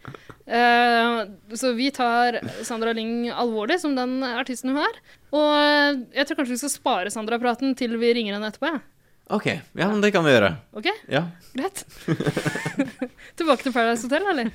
A: Eh, så vi tar Sandra Lyng alvorlig, som den artisten hun er. Og eh, jeg tror kanskje vi skal spare Sandra-praten til vi ringer henne etterpå. Ja.
B: OK. Ja, men det kan vi gjøre.
A: OK,
B: Ja.
A: greit. Tilbake til Paradise Hotel, eller?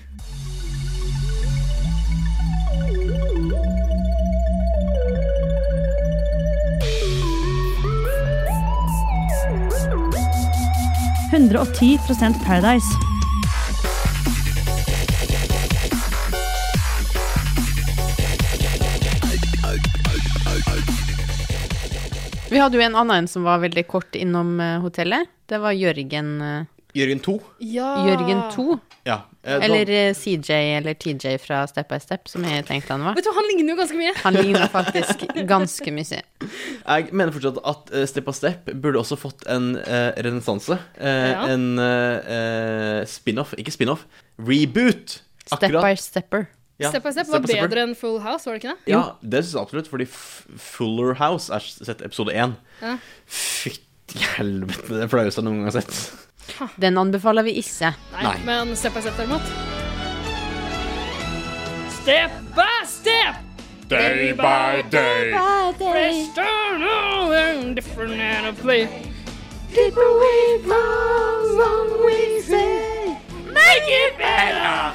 D: Vi hadde jo en annen en som var veldig kort innom eh, hotellet. Det var Jørgen, eh,
B: Jørgen 2.
A: Ja.
D: Jørgen
A: Ah.
D: 2.
B: Ja. eh, da-
D: Eller eh, CJ eller TJ fra Step by Step, som jeg tenkte han var.
A: Vet du, han ligner jo ganske mye.
D: Han ligner faktisk ganske mye.
B: Jeg mener fortsatt at eh, Step by Step burde også fått en uh, renessanse. Eh,
A: Ja.
B: En eh, eh, spin-off Ikke spin-off, reboot!
D: Step by Stepper.
B: Ja,
A: Step by Step var
B: by Stepper.
A: bedre enn Full House, var det ikke det?
B: Ja, det syns jeg absolutt, fordi F- Fuller House er sett episode én.
A: Ja.
B: Fytti helvete, det er flaueste jeg noen gang har sett.
D: Den anbefaler vi ikke.
A: Nei,
B: Nei.
A: men Step by Step derimot. Step by step! Day by day. Fresh turn over and different and a play. Keep away from what we say. Make it better.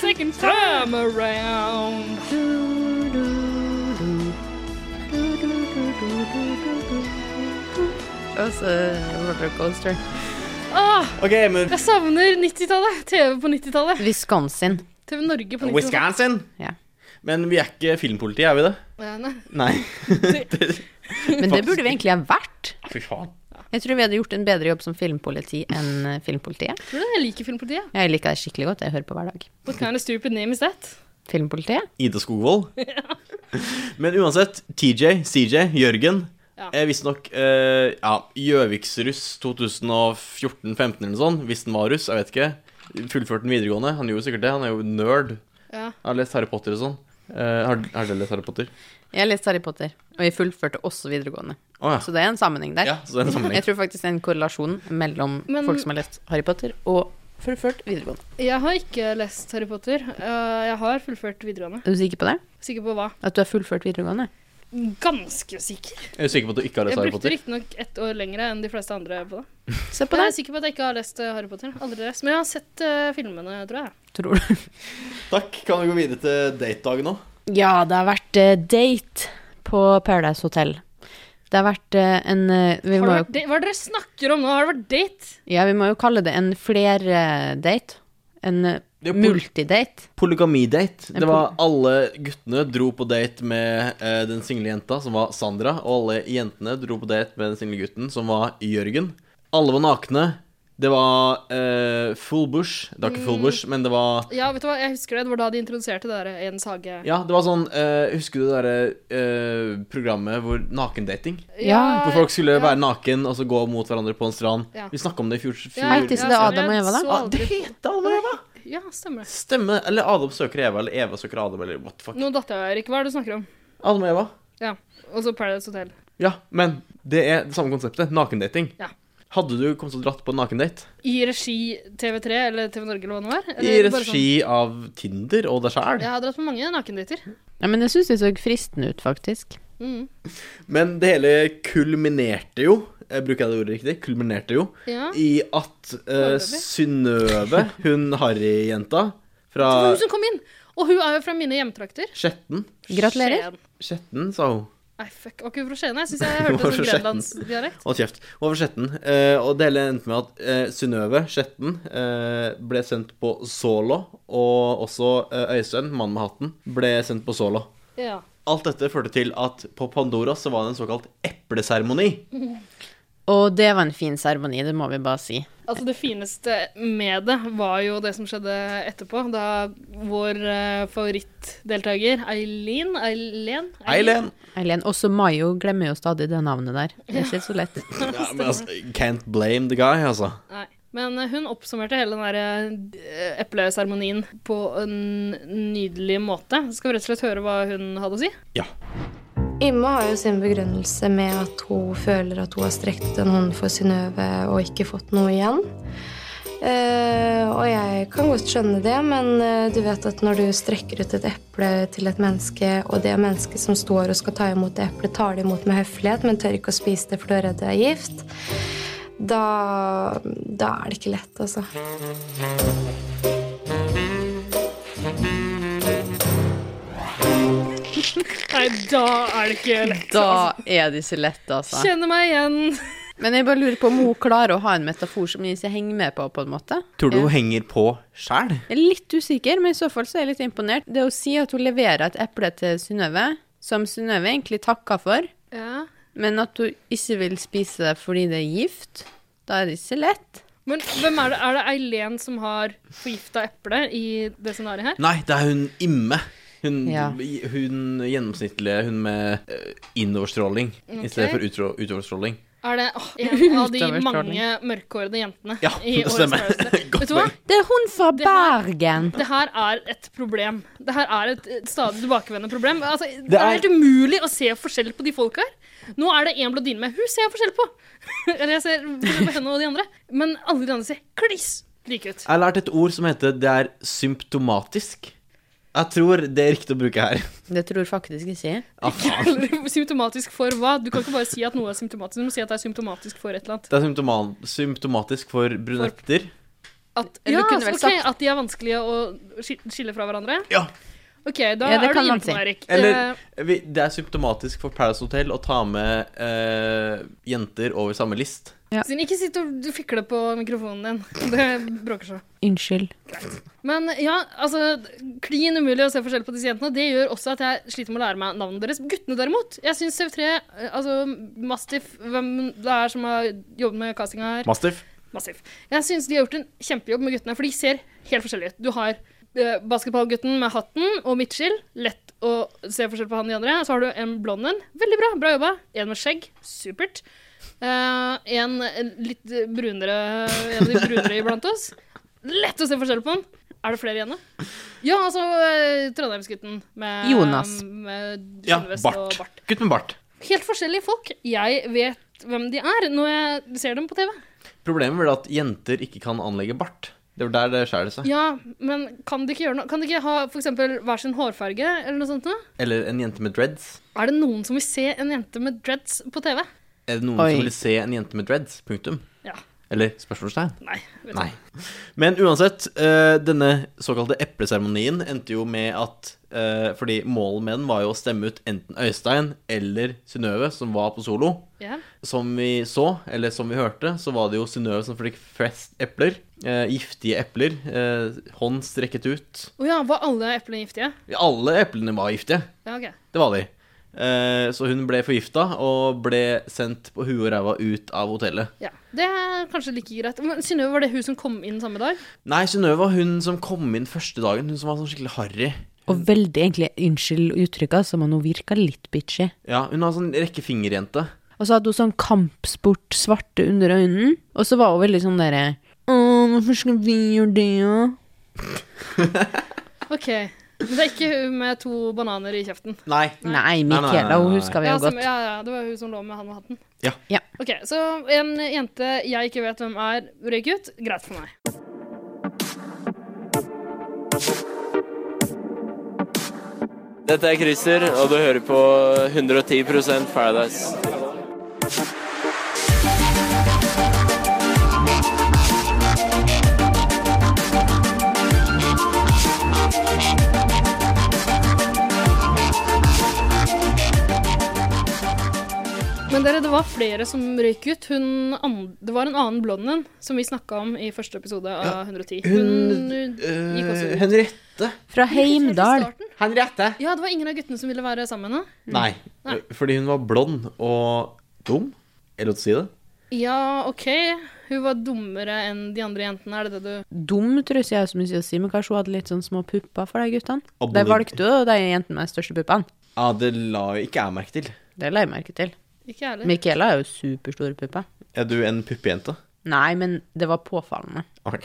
A: Second time around.
D: Altså, rollercoaster.
A: Åh,
B: OK, men
A: Ah, jeg savner 90-tallet. TV på 90-tallet.
D: Wisconsin.
A: TV Norge på 90-tallet.
B: Wisconsin!
D: Ja.
B: Men vi er ikke filmpolitiet, er vi det?
A: Ja, nei.
B: Nei.
D: Men det burde vi egentlig ha vært.
B: Fy faen.
D: Jeg tror vi hadde gjort en bedre jobb som filmpoliti enn eh, filmpolitiet.
A: Tror du det? Jeg liker Filmpolitiet.
D: Jeg liker det skikkelig godt. Jeg hører på hver dag.
A: What kind of stupid name is that?
D: Filmpolitiet?
B: Ida Skogvold. Men uansett, TJ, CJ, Jørgen
A: Ja.
B: eh, Visstnok eh, ja, Gjøviksruss 2014-15 eller noe sånt. Hvis den var russ, jeg vet ikke. Fullførte den videregående. Han gjorde sikkert det. Han er jo nerd.
A: Ja.
B: Han har lest Harry Potter og sånn. Eh, har, har dere lest Harry Potter?
D: Jeg har lest Harry Potter, og jeg fullførte også videregående.
B: Å ja.
D: Så det er en sammenheng der.
B: Ah. ja. Så det er en sammenheng.
D: Jeg tror faktisk det er en korrelasjon mellom
A: Men-
D: folk som har lest Harry Potter, og fullført videregående.
A: Jeg har ikke lest Harry Potter. Eh, jeg har fullført videregående.
D: Er du sikker på det?
A: Sikker på hva?
D: At du har fullført videregående?
A: Ganske sikker.
B: Jeg er sikker på at du ikke har
A: Jeg
B: lest Harry
A: brukte
B: Potter.
A: riktignok ett år lengre enn de fleste andre på det.
D: Se på
A: Men jeg
D: det.
A: er sikker på at jeg ikke har lest eh, Harry Potter. Aldri lest. Men jeg har sett eh, filmene, tror jeg.
D: Tror du?
B: Takk. Kan vi gå videre til datedagen nå?
D: Ja, det har vært eh, date på Paradise Hotel. Det har vært eh, en eh, vi
A: Har
D: må,
A: det
D: jo,
A: vært date? Hva er det dere snakker om nå? Har det vært date?
D: ja, vi må jo kalle det en flerdate. En eh,
B: Det er pol-
D: multidate.
B: Polygamidate.
D: En
B: Det var alle guttene dro på date med eh, den single jenta, som var Sandra. Og alle jentene dro på date med den single gutten, som var Jørgen. Alle var nakne. Det var eh, full bush. Det var ikke full
D: Mm.
B: bush, men det var
A: Ja, vet du hva? Jeg husker det. Det var da de introduserte det der Edens hage.
B: Ja, det var sånn eh, Husker du det derre eh, programmet hvor nakendating?
D: Ja.
B: Hvor folk skulle være naken og så gå mot hverandre på en strand.
A: Ja.
B: Vi snakka om det i fjor. fjor.
D: Hei, til så det er Adam og Eva, da.
B: Ah, det heter allerede!
A: Ja, stemmer det.
B: Stemme. Eller Adam søker Eva, eller Eva søker Adam, eller what the fuck.
A: Nå datt jeg, Erik. Hva er det du snakker om?
B: Adam og Eva.
A: Ja. Og så Paradise Hotel.
B: Ja, men det er det samme konseptet. Nakendating.
A: Ja.
B: Hadde du kommet og dratt på en nakendate
A: I regi TV3 eller TV Norge eller hva det nå var?
B: i
A: Eller bare sånn?
B: regi av Tinder og deg sjæl?
A: Jeg har dratt på mange nakendater.
D: Ja, men jeg syns det så fristende ut, faktisk.
B: Men det hele kulminerte jo, eh, bruker jeg det ordet riktig, kulminerte jo
A: Ja.
B: i at eh,
A: Foreløpig.
B: Synnøve, hun harryjenta fra
A: Det var hun som kom inn! Og hun er jo fra mine hjemtrakter.
B: Skjetten
D: Gratulerer.
A: Skien.
B: Skjetten, sa hun.
A: Nei, fuck. Var ikke hun fra Skien? Jeg syns jeg
B: Hun
A: hørte
B: var
A: sånn
B: fra Skien.
A: grenlandsdialekt.
B: Hold kjeft. Hun var fra Skjetten. eh, og det hele endte med at eh, Synnøve Skjetten eh, ble sendt på Solo, og også eh, Øystein, mannen med hatten, ble sendt på Solo.
A: Ja.
B: Alt dette førte til at på Pandora så var det en såkalt epleseremoni.
D: Og det var en fin seremoni, det må vi bare si.
A: Altså Det fineste med det var jo det som skjedde etterpå, da vår eh, favorittdeltaker Eileen Eileen?
B: Eileen!
D: Eileen, også Mayo glemmer jo stadig det navnet der. Det er ikke så lett.
B: Ja, men altså, can't blame the guy, altså.
A: Nei. Men eh, hun oppsummerte hele den der eh, epleseremonien på en nydelig måte. Skal vi rett og slett høre hva hun hadde å si?
B: Ja.
G: Imme har jo sin begrunnelse med at hun føler at hun har strekt ut en hånd for Synnøve og ikke fått noe igjen. Eh, og jeg kan godt skjønne det, men eh, du vet at når du strekker ut et eple til et menneske, og det mennesket som står og skal ta imot det eplet, tar det imot med høflighet, men tør ikke å spise det for du er redd du er gift, da, da er det ikke lett, altså.
A: Nei, da er det ikke lett.
D: Da er det ikke lett, altså.
A: Kjenner meg igjen.
D: Men jeg bare lurer på om hun klarer å ha en metafor som jeg ikke henger med på, på en måte.
B: Tror du hun henger på sjæl?
D: Jeg er litt usikker, men i så fall så er jeg litt imponert. Det å si at hun leverer et eple til Synnøve, som Synnøve egentlig takker for,
A: Ja.
D: men at hun ikke vil spise det fordi det er gift, da er det ikke lett.
A: Men hvem er det? Er det Eileen som har forgifta eplet i det scenarioet her?
B: Nei, det er hun Imme. Hun,
D: Ja.
B: hun gjennomsnittlige, hun med eh, innoverstråling i stedet for utro, utoverstråling.
A: Er det åh, en av de
D: Utover stråling.
A: mange mørkhårede jentene
B: Ja,
A: i
B: det
A: årets
B: stemmer.
A: Smarteste?
B: Godt
A: Vet du hva?
B: poeng.
D: Det er hun fra
A: Det her-
D: Bergen!
A: Det her er et problem. Det her er et eh, stadig tilbakevendende problem. Altså, det, er...
B: er-
A: helt umulig å se forskjell på de folka her. Nå er det en blondine med. Hun ser jeg forskjell på! Eller jeg ser forskjell på henne og de andre. Men alle de andre ser kliss like ut.
B: Jeg har lært et ord som heter 'det er symptomatisk'. Jeg tror det er riktig å bruke her.
D: Det tror faktisk ikke jeg.
B: Ja, faen.
A: symptomatisk for hå? Du kan ikke bare si at noe er symptomatisk. Du må si at det er symptomatisk for et eller annet.
B: Det er symptoma symptomatisk for brunetter.
A: At,
D: Eller
A: ja,
D: du kunne vel
A: ok,
D: sagt-
A: at de er vanskelige å ski- skille fra hverandre.
B: Ja.
A: OK, da
D: Ja,
A: er
D: det
A: du
D: kan
A: inne
D: man
A: på
D: si.
A: noe, Erik.
B: Eller-
A: Eh,
B: Vi- Det er symptomatisk for Paradise Hotel å ta med eh, jenter over samme list.
A: Siden ikke sitt og du fikle på mikrofonen din. Det bråker så.
D: Unnskyld.
A: Men ja, altså klin umulig å se forskjell på disse jentene. Det gjør også at jeg sliter med å lære meg navnet deres. Guttene derimot. Jeg syns CV3, eh, altså Mastiff, hvem det er som har jobbet med castinga her
B: Mastiff.
A: Mastiff. Jeg syns de har gjort en kjempejobb med guttene, for de ser helt forskjellige ut. Du har eh, basketballgutten med hatten og midtskill. Lett å se forskjell på han og de andre. Så har du en blond en. Veldig bra. Bra jobba. En med skjegg. Supert. Eh, en litt brunere En av de brunere iblant oss. Lett å se forskjell på han. Er det flere igjen, da? Ja, altså eh, Trondheimsgutten med
D: Jonas.
A: Med
B: Ja,
A: skinnvest og
B: bart.
A: bart.
B: Gutt med bart.
A: Helt forskjellige folk. Jeg vet hvem de er når jeg ser dem på TV.
B: Problemet er at jenter ikke kan anlegge bart. Det var der det skjærer seg.
A: Ja, men kan de ikke gjøre noe? Kan de ikke ha for eksempel hver sin hårfarge eller noe sånt? noe?
B: Eller en jente med dreads.
A: Er det noen som vil se en jente med dreads på TV?
B: Er det noen
D: Oi.
B: som vil se en jente med dreads? Punktum.
A: Ja.
B: Eller spørsmålstegn?
A: Nei. vet du.
B: Nei. Men uansett, eh, denne såkalte epleseremonien endte jo med at eh, Fordi målet med den var jo å stemme ut enten Øystein eller Synnøve, som var på solo.
A: Ja.
B: Som vi så, eller som vi hørte, så var det jo Synnøve som fikk flest epler. eh, giftige epler. eh, hånd strekket ut.
A: Å ja, var alle eplene giftige?
B: Alle eplene var giftige.
A: Ja, ok.
B: Det var de. Eh, så hun ble forgifta og ble sendt på huet og ræva ut av hotellet.
A: Ja, Det er kanskje like greit. Men Synnøve, var det hun som kom inn samme dag?
B: Nei, Synnøve var hun som kom inn første dagen. Hun som var sånn skikkelig harry.
D: Og veldig egentlig unnskyld uttrykket, som om hun virka litt bitchy.
B: Ja, hun har sånn rekkefingerjente.
D: Og så hadde hun sånn kampsport svarte under øynene, og så var hun veldig sånn derre Åh, hvorfor skal vi gjøre det, da?
A: OK. Men det er ikke hun med to bananer i kjeften.
B: Nei.
D: Nei, altså,
B: nei, nei,
D: Michaela,
B: nei,
D: hun
B: nei.
D: husker vi
A: Ja,
D: jo
A: som,
D: godt.
A: ja, ja, det var hun som lå med han med hatten.
B: Ja.
D: Ja.
A: OK, så en jente jeg ikke vet hvem er, røyk ut. Greit for meg.
H: Dette er Christer, og du hører på 110 Paradise.
A: var flere som røyk ut. Hun an- det var en annen blond en som vi snakka om i første episode av 110. Hun, hun gikk også
B: Eh,
A: ut.
B: Henriette.
D: Fra
A: Helt i
D: Heimdal.
A: starten.
B: Henriette!
A: Ja, det var ingen av guttene som ville være sammen med henne.
B: Nei,
A: Mm. Nei.
B: fordi hun var blond og dum. Er det lov til å si det?
A: Ja, OK, hun var dummere enn de andre jentene, er det det du
D: Dum trusse jeg så mye å si, men kanskje hun hadde litt sånn små pupper for de guttene?
B: Abolig-
D: De valgte jo de jentene med de største puppene.
B: Ja, Ah, det la jo ikke jeg merke til.
D: Det la jeg merke til.
A: Ikke jeg heller.
D: Michaela er jo superstore pupper.
B: Er du en puppejente?
D: Nei, men det var påfallende.
B: Ok.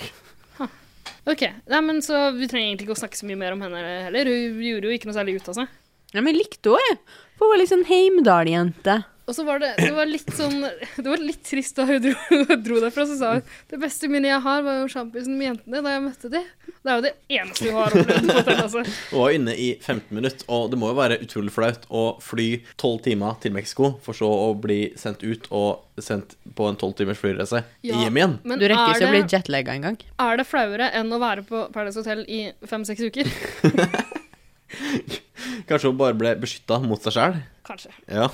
A: OK. Nei, men så vi trenger egentlig ikke å snakke så mye mer om henne heller. Hun gjorde jo ikke noe særlig ut av seg.
D: Ja, men jeg likte henne, jeg. For hun var liksom Heimdal-jente.
A: Og så var det, det var litt sånn Det var litt trist da hun dro, dro derfra. Så sa hun det beste minnet jeg har, var jo sjampisen med jentene da jeg møtte de. Det er jo det eneste hun har opplevd. på hotell, altså.
B: Hun var inne i 15 minutter, og det må jo være utrolig flaut å fly 12 timer til Mexico, for så å bli sendt ut og sendt på en 12 timers flyreise
A: Ja,
B: hjem igjen.
A: Men
D: Du rekker ikke å
A: er
D: bli
A: det,
D: jetlegga engang.
A: er det flauere enn å være på Paradise Hotel i fem-seks uker?
B: Kanskje hun bare ble beskytta mot seg sjæl?
A: Kanskje.
B: Ja.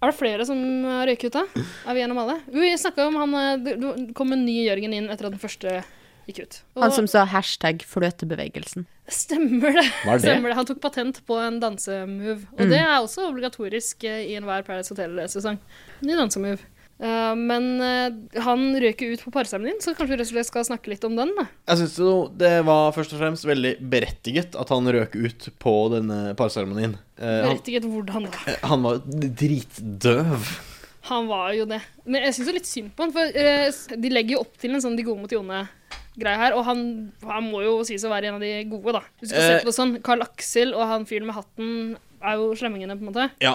A: Er det flere som har røyket ut, da? Er vi gjennom alle? Vi snakka om han eh, Det det kom en ny Jørgen inn etter at den første gikk ut. Og
D: Han som sa hashtag fløtebevegelsen.
A: Stemmer det.
B: Hva er det? Mm.
A: Stemmer det. Han tok patent på en dansemove. Og det er også obligatorisk eh, i enhver Paradise Hotel-sesong. Ny dansemove. Eh, men eh, han røk jo ut på parseremonien, så kanskje vi rett og slett skal snakke litt om den. da.
B: Jeg syns jo det var først og fremst veldig berettiget at han røk ut på denne parseremonien. Eh, han,
A: Berettiget hvordan, da.
B: han var dritdøv.
A: Han var jo det. Men jeg syns jo litt synd på han, for eh, s- de legger jo opp til en sånn de gode mot de onde-greie her. Og han, han må jo sies å være en av de gode, da. Hvis du skal
B: Eh.
A: se på det sånn, Carl Aksel og han fyren med hatten er jo slemmingene, på en måte.
B: Ja.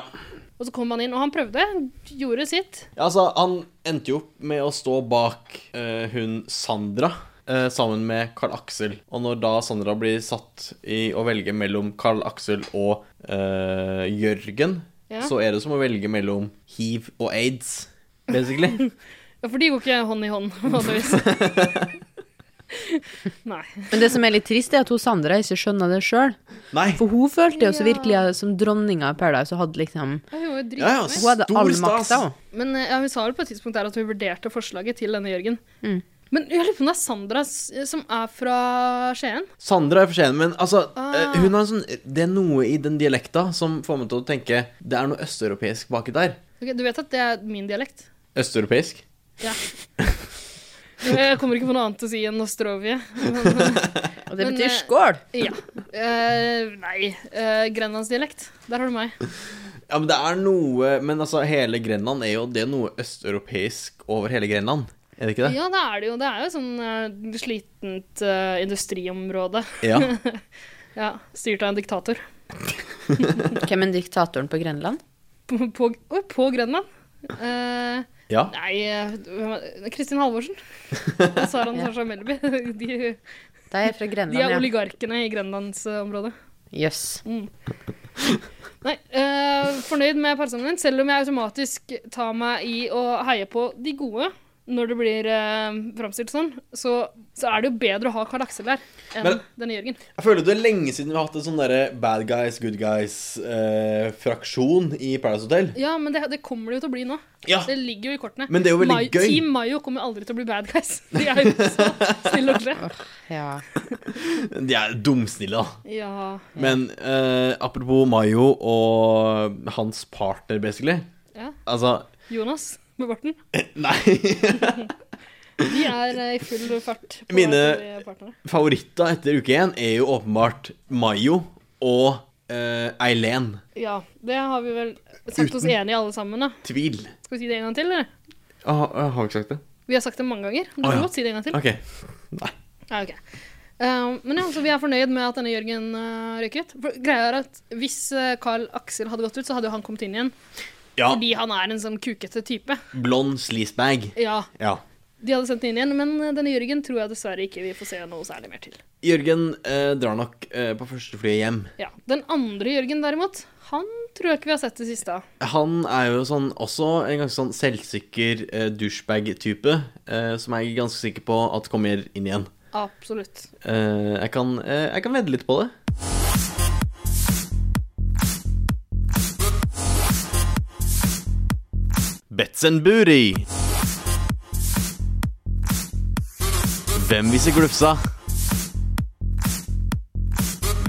A: Og så kom han inn, og han prøvde. Gjorde sitt.
B: Ja, altså, han endte jo opp med å stå bak eh, hun Sandra eh, sammen med Carl Aksel. Og når da Sandra blir satt i å velge mellom Carl Aksel og eh, Jørgen,
A: Ja.
B: så er det som å velge mellom hiv og aids, basically.
A: Ja, for de går ikke hånd i hånd, vanligvis. Nei.
D: Men det som er litt trist, er at hun Sandra ikke skjønner det sjøl.
B: Nei.
D: For hun følte jo så
A: Ja.
D: virkelig som dronninga av Paradise og hadde liksom
A: Ja, Hun var jo
B: Ja, altså. ja,
A: dritfornøyd.
D: Hun
B: Stor
D: hadde all
B: stas.
D: makta, hun.
A: Men eh, ja, hun sa vel på et tidspunkt der at hun vurderte forslaget til denne Jørgen. Men jeg lurer på om det er Sandra s- eh, som er fra Skien.
B: Sandra er for sen, men altså
A: Ah.
B: eh, hun har en sånn, Det er noe i den dialekta som får meg til å tenke Det er noe østeuropeisk baki der.
A: Ok, du vet at det er min dialekt?
B: Østeuropeisk?
A: Jeg kommer ikke på noe annet å si enn Nostrovje.
D: Og det
A: Men,
D: betyr
A: eh,
D: skål!
A: Ja. Eh, nei. Uh, Grenlandsdialekt. Der har du meg.
B: Ja, men det er noe Men altså, hele Grenland er jo Det er noe østeuropeisk over hele Grenland. Er det ikke det?
A: Ja, det er det jo. Det er jo sånn eh, slitent eh, industriområde.
B: Ja.
A: Ja, Styrt av en diktator.
D: Hvem er diktatoren på Grenland?
A: På, på, oi, på Grønland. Eh,
B: Ja.
A: Nei, eh, hvem er- Kristin Halvorsen og Sara Natasha Melby. De,
D: De er fra
A: de er
D: Grenland, ja.
A: oligarkene i grenlandsområdet.
D: Jøss.
A: Nei, eh, fornøyd med parsammen din, selv om jeg automatisk tar meg i å heie på de gode. Når det blir eh, framstilt sånn, så, så er det jo bedre å ha Karl Aksel der enn
B: Men-
A: denne Jørgen.
B: Jeg føler det er lenge siden vi har hatt en sånn derre bad guys, good guys-fraksjon i Paradise Hotel.
A: Ja, men det, det kommer det jo til å bli nå.
B: Ja.
A: Det ligger jo i kortene.
B: Men det er jo veldig
A: Mai-
B: gøy.
A: Team Mayo kommer aldri til å bli bad guys. De er jo så snille og ordentlige.
D: Ja.
B: De er dumsnille, da.
A: Ja.
B: Men eh, apropos Mayo og hans partner, basically.
A: Ja.
B: Altså
A: Jonas med barten.
B: Nei.
A: De er eh, i full fart på
B: Mine-
A: Mine... partnere.
B: Favoritter etter uke én er jo åpenbart Mayo og eh, Eileen.
A: Ja, det har vi vel sagt oss
B: Uten-
A: enige i alle sammen, da.
B: Tvil.
A: Skal vi si det en gang til, eller?
B: Ah, jeg har ikke sagt det.
A: Vi har sagt det mange ganger. Du
B: Å,
A: kan
B: ja.
A: godt si det en gang til.
B: OK.
A: Ja, ok. Eh, men ja, så vi er fornøyd med at denne Jørgen uh, røyk ut. For greia er at hvis eh, Carl Aksel hadde gått ut, så hadde jo han kommet inn igjen.
B: Ja.
A: Fordi han er en sånn kukete type.
B: Blond sleazebag.
A: Ja,
B: Ja.
A: de hadde sendt inn igjen, men eh, denne Jørgen tror jeg dessverre ikke vi får se noe særlig mer til.
B: Jørgen eh, drar nok eh, på første flyet hjem.
A: Ja, Den andre Jørgen, derimot, han tror jeg ikke vi har sett det siste av.
B: Han er jo sånn, også en ganske sånn selvsikker eh, douchebag-type, eh, som jeg er ganske sikker på at kommer inn igjen.
A: Absolutt.
B: Eh, jeg kan, eh, jeg kan vedde litt på det. Betzenburi. Hvem viser glufsa?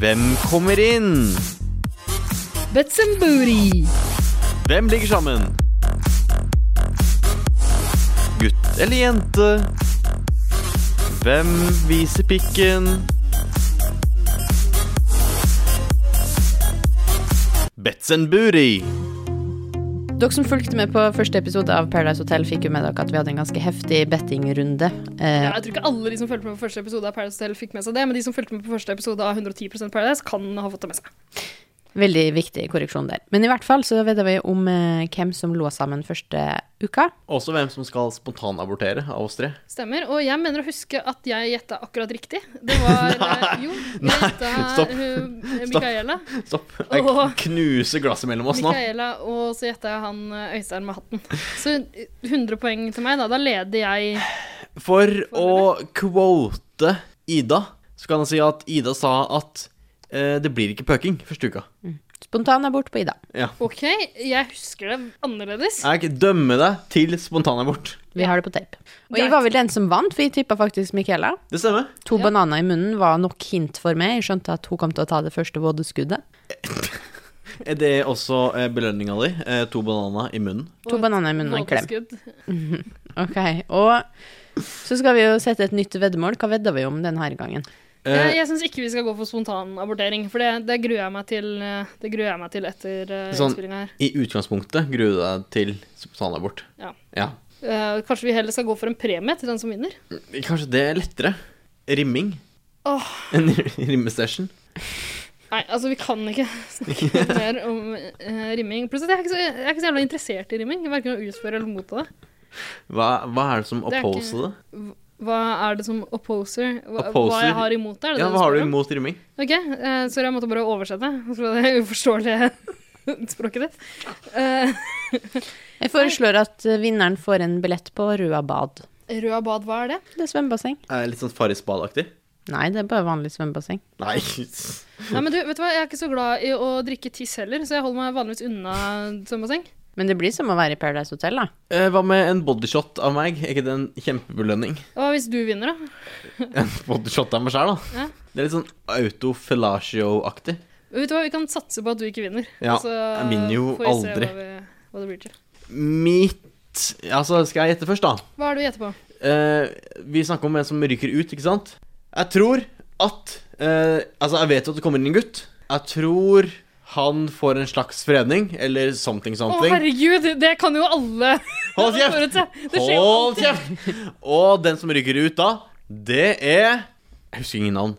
B: Hvem kommer inn?
A: Bets and booty.
B: Hvem ligger sammen? Gutt eller jente? Hvem viser pikken? Betzenburi.
D: Dere som fulgte med på første episode av Paradise Hotel, fikk jo med dere at vi hadde en ganske heftig bettingrunde. Eh,
A: Ja, jeg tror ikke alle de som fulgte med på første episode av Paradise Hotel, fikk med seg det, men de som fulgte med på første episode av 110 Paradise, kan ha fått det med seg.
D: Veldig viktig korreksjon der. Men i hvert fall så vet vi om eh, hvem som lå sammen første uka.
B: Også hvem som skal spontanabortere av oss tre.
A: Stemmer. Og jeg mener å huske at jeg gjetta akkurat riktig. Det var eh, Jo, jeg gjetta
B: stopp.
A: eh,
B: Stopp.
A: Micaela.
B: Stopp. Jeg
A: Åh.
B: knuser glasset mellom oss nå.
A: Micaela, og så gjetta jeg han eh, Øystein med hatten. Så eh, 100 poeng til meg, da. Da leder jeg
B: For å quote Ida, så kan jeg si at Ida sa at eh, det blir ikke pøking første uka.
D: Spontanabort på Ida.
A: OK, jeg husker det annerledes.
B: Jeg dømmer deg til spontanabort.
D: Vi har det på tape. Og jeg var vel den som vant, for jeg tippa faktisk Michaela.
B: Det stemmer.
D: To bananer i munnen var nok hint for meg. Jeg skjønte at hun kom til å ta det første vådeskuddet.
B: Er det også eh, belønninga di? Eh, to bananer i munnen.
D: To bananer i munnen og en klem.
A: Vådeskudd.
D: Ok, og så skal vi jo sette et nytt veddemål. Hva vedder vi om denne gangen?
A: Jeg,
B: Eh,
A: jeg syns ikke vi skal gå for spontanabortering, for det, det, gruer jeg meg til, eh, det gruer jeg meg til etter uh,
B: Sånn.
A: innspillinga her.
B: I utgangspunktet gruer du deg til spontanabort.
A: Ja.
B: ja.
A: Eh, kanskje vi heller skal gå for en premie til den som vinner?
B: Kanskje det er lettere? Rimming?
A: Åh.
B: En rimmestation?
A: Nei, altså, vi kan ikke snakke mer om eh, rimming. Plutselig, jeg er, ikke så, jeg er ikke så jævla interessert i rimming. Verken å utføre eller motta det.
B: Hva, hva er det som
A: er ikke-
B: opposer det?
A: Hva er det som opposer? Hva, hva
B: Opposer?
A: jeg har imot det? Er det
B: Ja,
A: det
B: hva har du
A: spør om?
B: imot rimming?
A: Ok, eh, sorry, jeg måtte bare oversette fra det uforståelige språket ditt. Eh,
D: Jeg foreslår at eh, vinneren får en billett på Røa bad.
A: Røa bad, hva er det?
D: Det er svømmebasseng.
B: Er jeg litt sånn Farris Bad-aktig?
D: Nei, det er bare vanlig svømmebasseng.
B: Nei.
A: Nei, men du, vet du hva, Jeg er ikke så glad i å drikke tiss heller, så jeg holder meg vanligvis unna svømmebasseng.
D: Men det blir som å være i Paradise Hotel, da.
B: Eh, hva med en bodyshot av meg? Er ikke det en kjempebelønning?
A: Hva hvis du vinner, da?
B: En bodyshot av meg sjæl, da?
A: Ja.
B: Det er litt sånn autofellatio-aktig.
A: Vet du hva, Vi kan satse på at du ikke vinner.
B: Ja,
A: Og så
B: jeg vinner jo
A: får vi se
B: aldri.
A: Hva, vi, hva det blir til.
B: Mitt Altså, skal jeg gjette først, da?
A: Hva er det du gjetter på?
B: Eh, vi snakker om en som ryker ut, ikke sant? Jeg tror at eh, Altså, jeg vet jo at det kommer inn en gutt. Jeg tror han får en slags fredning, eller something
A: Å,
B: something.
A: herregud, det kan jo alle
B: Hold kjeft!
A: forutse! Det skjer jo
B: Hold kjeft! Og den som ryker ut da, det er Jeg husker ingen navn.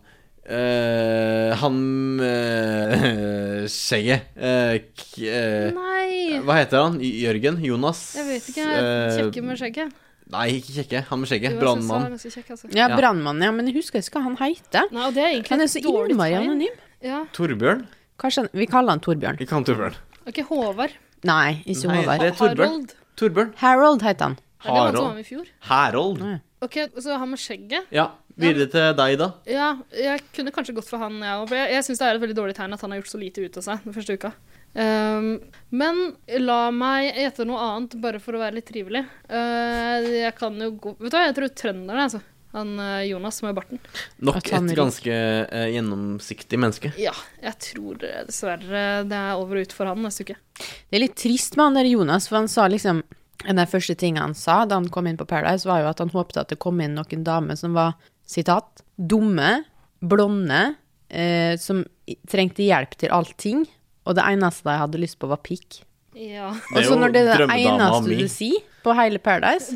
B: Eh, han eh, Skjegget. Eh, k- eh,
A: Nei,
B: hva heter han? Jørgen? Jonas?
A: jeg vet ikke.
B: Eh,
A: Kjekke med skjegget.
B: Nei, ikke kjekke. Han med
A: Jo,
B: skjegget.
A: jeg synes han
B: Brannmann.
A: er ganske kjekk, altså.
D: Ja,
B: Ja.
D: brannmann, ja. Men jeg husker ikke hva han heter.
A: Nei, og det er egentlig
D: Han er
A: et
D: så
A: dårlig
D: innmari
A: tegn.
D: anonym.
A: Ja.
B: Torbjørn?
D: Kanskje han, vi kaller han Torbjørn.
B: Ikke han Torbjørn.
A: Ok, Håvard.
D: Nei, ikke
B: Nei,
D: Håvard.
B: det- er Torbjørn.
A: Harald.
B: Torbjørn.
D: Harold heter han.
A: Er det han som
B: Harald.
A: var med i fjor?
B: Herold.
D: Nei.
A: Ok, Så han med skjegget.
B: Ja, videre til deg, da.
A: Ja, jeg kunne kanskje gått for han, jeg òg. Jeg, jeg syns det er et veldig dårlig tegn at han har gjort så lite ut av seg den første uka. Ehm, men la meg gjette noe annet, bare for å være litt trivelig. Eh, jeg kan jo gå Vet du hva, jeg tror trønderen, altså. Han eh, Jonas med barten.
B: Nok
D: At han
B: et
D: ryker.
B: ganske eh, gjennomsiktig menneske.
A: Ja, jeg tror eh, dessverre det er over og ut for han neste uke.
D: Det er litt trist med han der Jonas, for han sa liksom En av de første tingene han sa da han kom inn på Paradise, var jo at han håpte at det kom inn noen damer som var, sitat, dumme, blonde, eh, som i- trengte hjelp til allting, og det eneste de hadde lyst på, var pikk.
A: Ja.
D: Og
B: er
D: så
B: jo
D: Altså, når det er det
B: drømmedama
D: eneste
B: mi.
D: du sier på hele Paradise,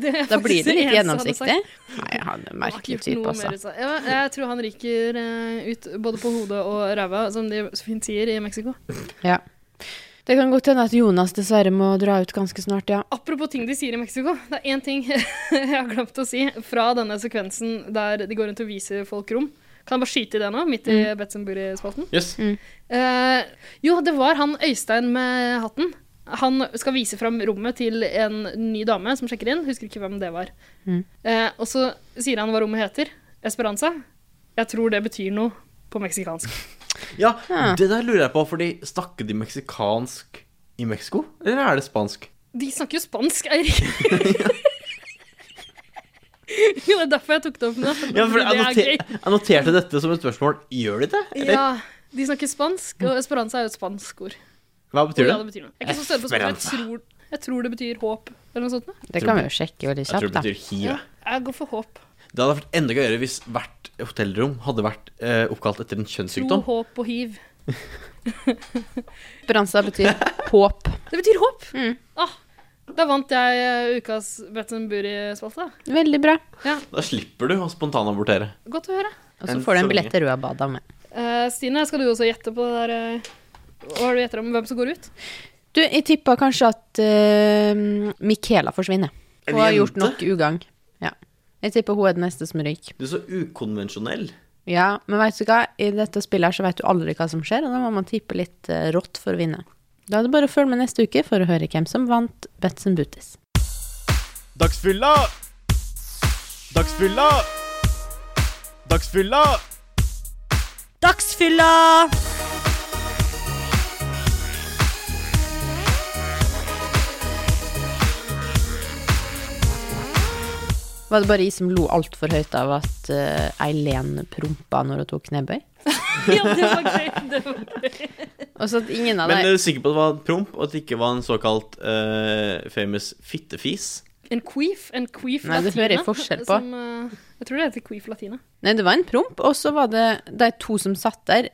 A: Det er
D: da
A: faktisk
D: blir det
A: det eneste
D: litt
A: han hadde
D: gjennomsiktig. Nei, han er en
A: Han har ikke
D: merkelig
A: gjort
D: type,
A: noe mer
D: altså.
A: ut av seg. ja, jeg tror han ryker eh, ut både på hodet og ræva, som de så fint sier i Mexico.
D: Ja. Det kan godt hende at Jonas dessverre må dra ut ganske snart, ja.
A: Apropos ting de sier i Mexico. Det er én ting jeg har glemt å si fra denne sekvensen der de går rundt og viser folk rom. Kan jeg bare skyte i det nå, midt i mm. Betzenburg-spalten?
B: Yes.
A: Eh, jo, det var han Øystein med hatten. Han skal vise fram rommet til en ny dame som sjekker inn. Husker ikke hvem det var.
B: Mm.
A: Eh, og så sier han hva rommet heter. Esperanza. Jeg tror det betyr noe på meksikansk.
B: Ja, det der lurer jeg på, fordi snakker de meksikansk i Mexico? Eller er det spansk?
A: De snakker jo spansk, Eirik. Jo, det er derfor jeg tok det opp nå. fordi
B: Ja, for jeg,
A: det er
B: noter,
A: gøy.
B: jeg noterte dette som et spørsmål. Gjør de det? Eller?
A: Ja, de snakker spansk, og esperanza er jo et spansk ord.
B: Hva betyr
A: Ja,
B: det?
A: det betyr noe. Jeg er ikke så større på spansk, men jeg tror, jeg tror det betyr håp, eller noe sånt. nå.
D: Det kan vi jo sjekke veldig
B: Jeg tror
D: kjapt,
B: det
D: da.
B: betyr hiv. jeg.
A: Jeg går for håp.
B: Det hadde vært enda gøyere hvis hvert hotellrom hadde vært eh, oppkalt etter en
A: Tro,
B: kjønnssykdom.
A: håp og hiv.
D: Esperanza betyr håp.
A: Det betyr håp!
D: Mm.
A: Ah, da vant jeg eh, ukas Bretzenbury-spalte. da.
D: Veldig bra.
B: Da slipper du å spontanabortere.
A: Godt å høre.
D: Og så
B: Enn så
D: får du en
B: lenge.
D: billett til Rødbada med.
A: Eh, Stine, skal du også gjette på det der eh, Hva har du gjetter om hvem som går ut?
D: Du, jeg tippa kanskje at eh, Michaela forsvinner.
B: En
D: Hun har
B: jente?
D: gjort nok ugagn. Ja. Jeg tipper hun er den neste som ryker.
B: Du er så ukonvensjonell.
D: Ja, men vet du hva? I dette spillet her så vet du aldri hva som skjer, og da må man tippe litt eh, rått for å vinne. Da er det bare å følge med neste uke for å høre hvem som vant Betsen Booties.
B: Dagsfylla! Dagsfylla! Dagsfylla!
C: Dagsfylla!
D: Var det bare jeg som lo altfor høyt av at eh, Eileen prompa når hun tok knebøy?
A: Ja, det var gøy. Det var gøy.
D: Og så at ingen av
B: Men eh,
D: deg
B: er du sikker på at det var promp, og at det ikke var en såkalt eh, famous fittefis?
A: En queef. En queef
D: Nei, det
A: latina,
D: hører jeg forskjell på.
A: Som, eh, jeg tror det heter queef latina.
D: Nei, det var en promp, og så var det de to som satt der,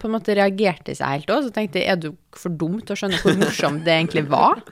D: på en måte reagerte seg helt òg. Så tenkte jeg, er du for dum til å skjønne hvor morsomt det egentlig var?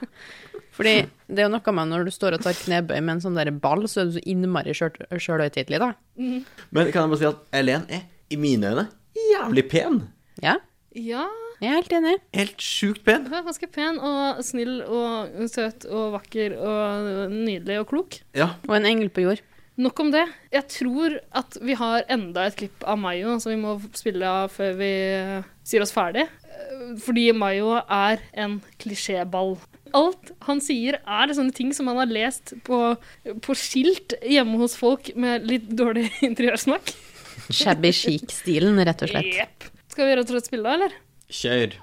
D: Fordi det er jo noe med når du står og tar knebøy med en sånn der ball, så er du så innmari sjølhøytidelig, da.
B: Men kan jeg bare si at Elen er, i mine øyne, jævlig pen.
D: Ja,
A: Ja,
D: jeg er helt enig.
B: Helt sjukt pen.
A: hun er ganske pen og snill og søt og vakker og nydelig og klok.
B: Ja.
D: Og en engel på jord.
A: Nok om det. Jeg tror at vi har enda et klipp av Mayo som vi må spille av før vi eh, sier oss ferdig. Eh, Fordi Mayo er en klisjéball. Alt han sier, er sånne ting som han har lest på, på skilt hjemme hos folk med litt dårlig interiørsmak.
D: Shabby chic-stilen, rett og slett.
A: Jep. Skal vi rett og slett spille, da, eller?
B: Kjør.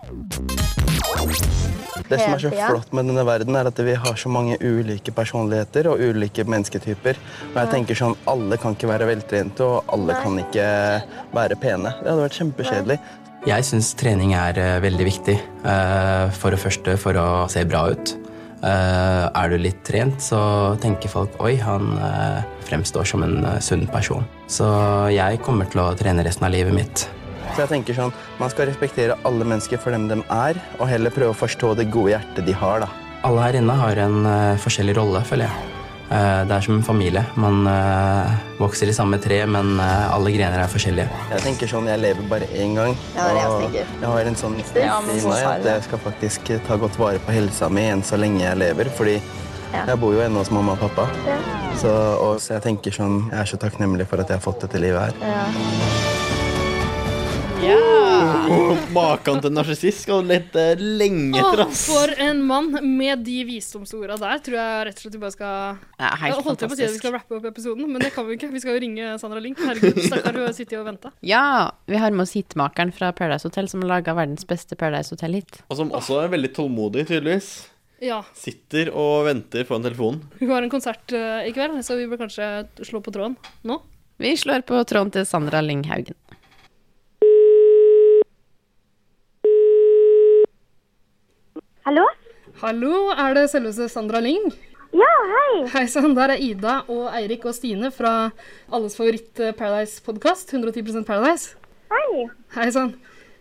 E: Det som er så
G: Ja.
E: flott med denne verden, er at vi har så mange ulike personligheter og ulike mennesketyper. Og jeg tenker sånn, alle kan ikke være veltrente, og alle kan ikke være pene. Det hadde vært kjempekjedelig. Jeg syns trening er eh, veldig viktig. eh, For det første for å se bra ut. Eh, Er du litt trent, så tenker folk oi, han eh, fremstår som en eh, sunn person. Så jeg kommer til å trene resten av livet mitt. Så jeg tenker sånn, Man skal respektere alle mennesker for dem de er, og heller prøve å forstå det gode hjertet de har. da. Alle her inne har en eh, forskjellig rolle, føler jeg. Eh, det er som en familie. Man eh, vokser i samme tre, men eh, alle grener er forskjellige. Jeg tenker sånn, jeg lever bare én gang. og jeg, har en sånn i meg at jeg skal faktisk eh, ta godt vare på helsa mi enn så lenge jeg lever. fordi jeg bor jo ennå hos mamma og pappa. Så, og, så jeg tenker sånn, jeg er så takknemlig for at jeg har fått dette livet her.
B: Maken til narsissist skal du lete lenge etter,
A: Åh,
B: ass.
A: for en mann med de visdomsorda der, tror jeg rett og slett vi bare skal
D: Ja, helt
A: Jeg holdt på å si at vi
D: fantastisk.
A: skal rappe opp episoden, men det kan vi ikke. Vi skal jo ringe Sandra Link. Herregud, stakkar, hun har sittet og venta.
D: Ja, vi har med oss hitmakeren fra Paradise Hotel, som har laga verdens beste Paradise Hotel-hit.
B: Og som også er veldig tålmodig, tydeligvis.
A: Ja.
B: Sitter og venter foran telefonen.
A: Hun har en konsert eh, i kveld, så vi bør kanskje slå på tråden nå.
D: Vi slår på tråden til Sandra Lynghaugen.
I: Hallo?
A: Hallo, er det selveste Sandra Lyng?
I: Ja, hei.
A: Hei sann, der er Ida og Eirik og Stine fra alles favoritt eh, Paradise-podkast, 110 Paradise.
I: Hei.
A: Hei sann.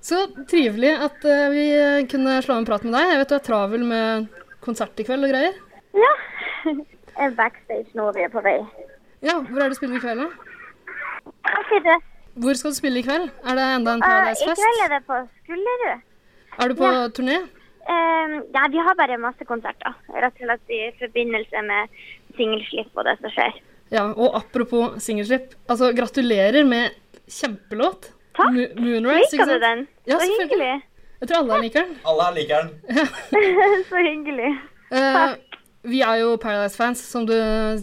A: Så trivelig at eh, vi kunne slå av en prat med deg. Jeg vet du er travel med konsert i kveld og greier.
I: Ja. Jeg er backstage nå, vi er på vei.
A: Ja, hvor er det du spiller i kveld, da?
I: Hva sier du?
A: Hvor skal du spille i kveld? Er det enda en
I: Eh, I
A: Paradise-fest?
I: kveld er det på Skullerud.
A: Er du på turné?
I: Eh, ja, vi har bare masse konserter. Rett og slett i forbindelse med singelslipp og det som skjer.
A: Ja, og apropos singelslipp. Altså, gratulerer med kjempelåt.
I: Takk.
A: Mo- Moonrise, ikke
I: Liker du
A: sant?
I: den?
A: Ja,
I: så
A: selvfølgelig.
I: hyggelig.
A: Jeg tror alle liker den.
B: Alle her liker den.
I: Så hyggelig.
A: Eh, vi er jo Paradise-fans, som du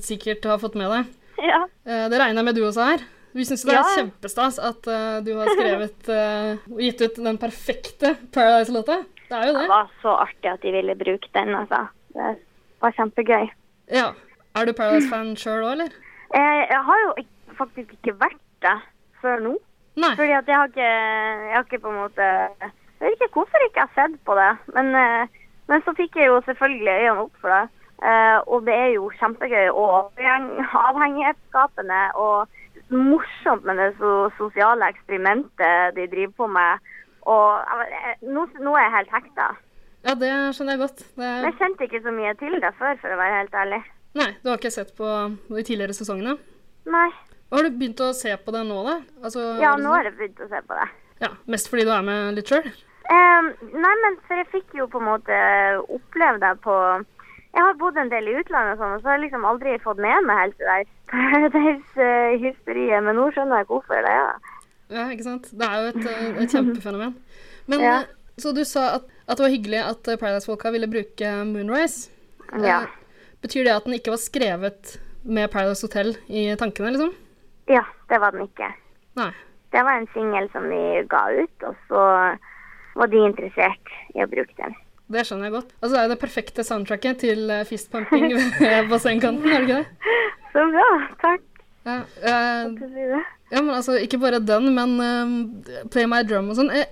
A: sikkert har fått med deg.
I: Ja.
A: Eh, det regner jeg med du også er. Vi syns det
I: Ja.
A: er kjempestas at eh, du har skrevet eh, og gitt ut den perfekte Paradise-låta. Det er jo
I: Det
A: det.
I: var så artig at de ville bruke den, altså. Det var kjempegøy.
A: Ja. Er du Paradise-fan sjøl òg, eller?
I: Eh, Jeg har jo ik- faktisk ikke vært det før nå. Fordi at jeg har ikke, jeg har ikke på en måte Jeg vet ikke hvorfor jeg ikke har sett på det. Men, eh, men så fikk jeg jo selvfølgelig øynene opp for det. Eh, og det er jo kjempegøy og avheng- avhengighetsskapende og morsomt med det so sosiale eksperimentet de driver på med. Og jeg vet- jeg- nå, nå er jeg helt hekta.
A: Ja, det skjønner jeg godt. Det
I: Men
A: er...
I: jeg kjente ikke så mye til det før, for å være helt ærlig.
A: Nei, du har ikke sett på de tidligere sesongene?
I: Nei.
A: Har du begynt å se på det nå, da? Altså,
I: Ja, nå har jeg begynt å se på det.
A: Ja, Mest fordi du er med litt sjøl?
I: Ehm, nei, men for jeg fikk jo på en måte eh, oppleve det på Jeg har bodd en del i utlandet, og sånn, og så har jeg liksom aldri fått med meg helt det der paradise-hysteriet. Men nå skjønner jeg hvorfor det er. det.
A: Ja, ikke sant? Det er jo et, eh, et kjempefenomen. Men
I: Ja.
A: eh, Så du sa at, at det var hyggelig at eh, Paradise Walka ville bruke Moonrise. Eh,
I: Ja.
A: Betyr det at den ikke var skrevet med Paradise Hotel i tankene, liksom?
I: Ja, det var den ikke.
A: Nei.
I: Det var en singel som de ga ut, og så var de interessert i å bruke den.
A: Det skjønner jeg godt. Altså, det er jo det perfekte soundtracket til eh, fistpumping ved bassengkanten, er det ikke det?
I: Så bra. Takk.
A: Ja, eh,
I: for det.
A: ja, men altså, ikke bare den, men eh, Play My Drum og sånn. Eh,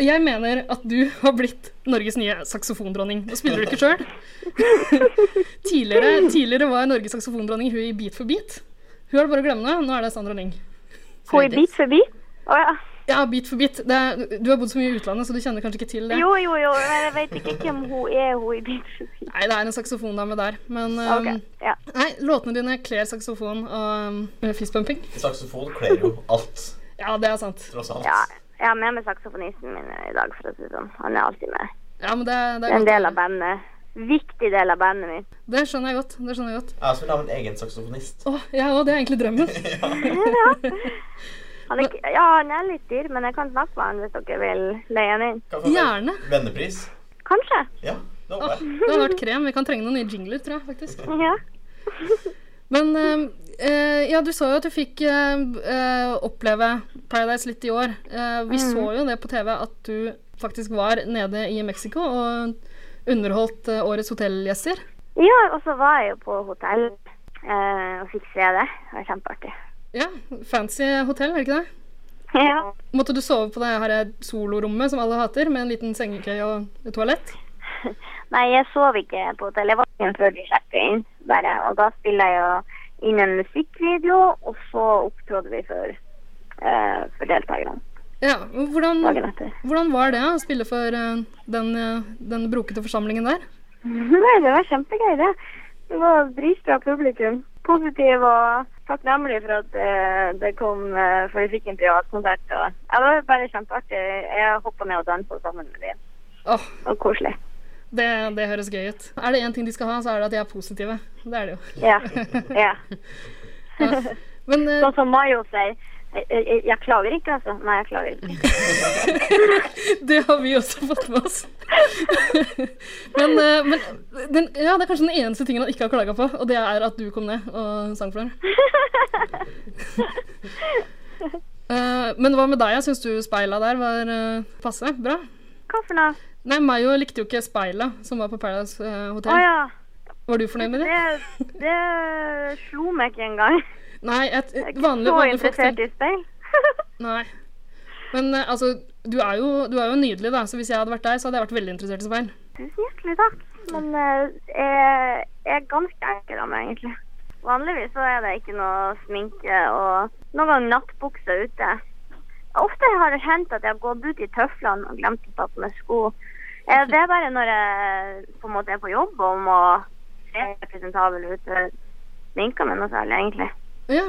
A: Jeg mener at du har blitt Norges nye saksofondronning. Nå spiller du ikke sjøl. tidligere, tidligere var Norges saksofondronning hun i Beat for beat. Hun er det bare å glemme nå. Nå er det Sandra Lyng.
I: Hun i Beat for beat? Å ja.
A: Ja, Beat for beat. Det er, du har bodd så mye i utlandet, så du kjenner kanskje ikke til det.
I: Jo, jo, jo. Men jeg vet ikke hvem hun er, hun i Beat for beat.
A: Nei, det er en saksofondame der, men
I: Ok,
A: um,
I: ja.
A: Nei, låtene dine kler saksofon og um, fistpumping.
B: Saksofon kler jo alt,
A: Ja, det er sant.
B: tross alt.
I: Ja, jeg har med meg saksofonisten min i dag, for å si det sånn. Han er alltid med.
A: Ja, men det, det,
I: Det
A: er
I: er en del av
A: godt.
I: bandet. Viktig del av bandet mitt.
A: det skjønner jeg godt. Det skjønner jeg godt.
B: Jeg også vil ha min egen saksofonist.
A: Åh, ja, og det er egentlig drømmen.
I: Han er, ikke- ja, han er litt dyr, men jeg kan snakke med han hvis dere vil leie han inn.
B: Kan
A: Gjerne.
B: vennepris.
I: Kanskje.
B: Ja, det
A: Åh,
B: håper jeg.
A: det hadde vært krem. Vi kan trenge noen nye jingler, tror jeg, faktisk.
I: Ja.
A: Men um, eh, ja, du sa jo at du fikk eh, eh, oppleve Paradise litt i år. Eh, vi så jo det på TV at du faktisk var nede i Mexico og underholdt eh, årets hotellgjester.
I: ja, og så var jeg jo på hotell eh, og fikk se det. Det var kjempeartig.
A: Ja, fancy hotell, er det ikke det?
I: Ja.
A: Måtte du sove på det her solorommet som alle hater, med en liten sengekøye og et toalett?
I: Nei, jeg sov ikke på hotellet. Jeg var ikke før de sjekket inn. Bare. Og da spiller jeg jo inn en musikkvideo, og så opptrådte vi for, eh, for deltakerne
A: Ja, og hvordan,
I: dagen etter.
A: hvordan var det å spille for eh, den, eh, den brokete forsamlingen der?
I: Nei, det var kjempegøy, det. Det var dritbra publikum. Positiv og takknemlig for at eh, det kom, eh, for vi fikk en privatkonsert. Og, ja, det var bare kjempeartig. Jeg hoppa ned og dansa sammen med dem.
A: Åh,
I: Det var koselig.
A: det, det høres gøy ut. Er det én ting de skal ha, så er det at de er positive. Det er det jo.
I: Ja. ja.
A: Men eh,
I: Sånn som Mayo sier. Jeg, jeg, jeg klager ikke, altså. Nei, jeg klager ikke.
A: det har vi også fått med oss. men eh, men den, ja, det er kanskje den eneste tingen han ikke har klaga på, og det er at du kom ned og sang for ham. Eh, men hva med deg? Syns du speila der var eh, passe? Bra?
I: Hva for noe?
A: Nei, Mayo likte jo ikke speila som var på Paradise eh,
I: Å
A: Hotel.
I: ja.
A: Var du fornøyd med det?
I: Det, det slo meg ikke engang.
A: Nei, et,
I: Jeg er
A: et
I: ikke
A: vanlig, vanlig
I: så
A: folk
I: interessert
A: tenker
I: i speil.
A: Nei. Men eh, altså, du er, jo, du er jo nydelig, da, så hvis jeg hadde vært deg, så hadde jeg vært veldig interessert i speil.
I: Tusen hjertelig takk. Men eh, jeg jeg er ganske enkel av meg, egentlig. Vanligvis så er det ikke noe sminke og noen gang nattbukse ute. Ofte har det hendt at jeg har gått ut i tøflene og glemt å ta på meg sko. Eh, Det er bare når jeg på en måte er på jobb og må se presentabel ut. Jeg Sminker meg noe særlig, egentlig.
A: Ja.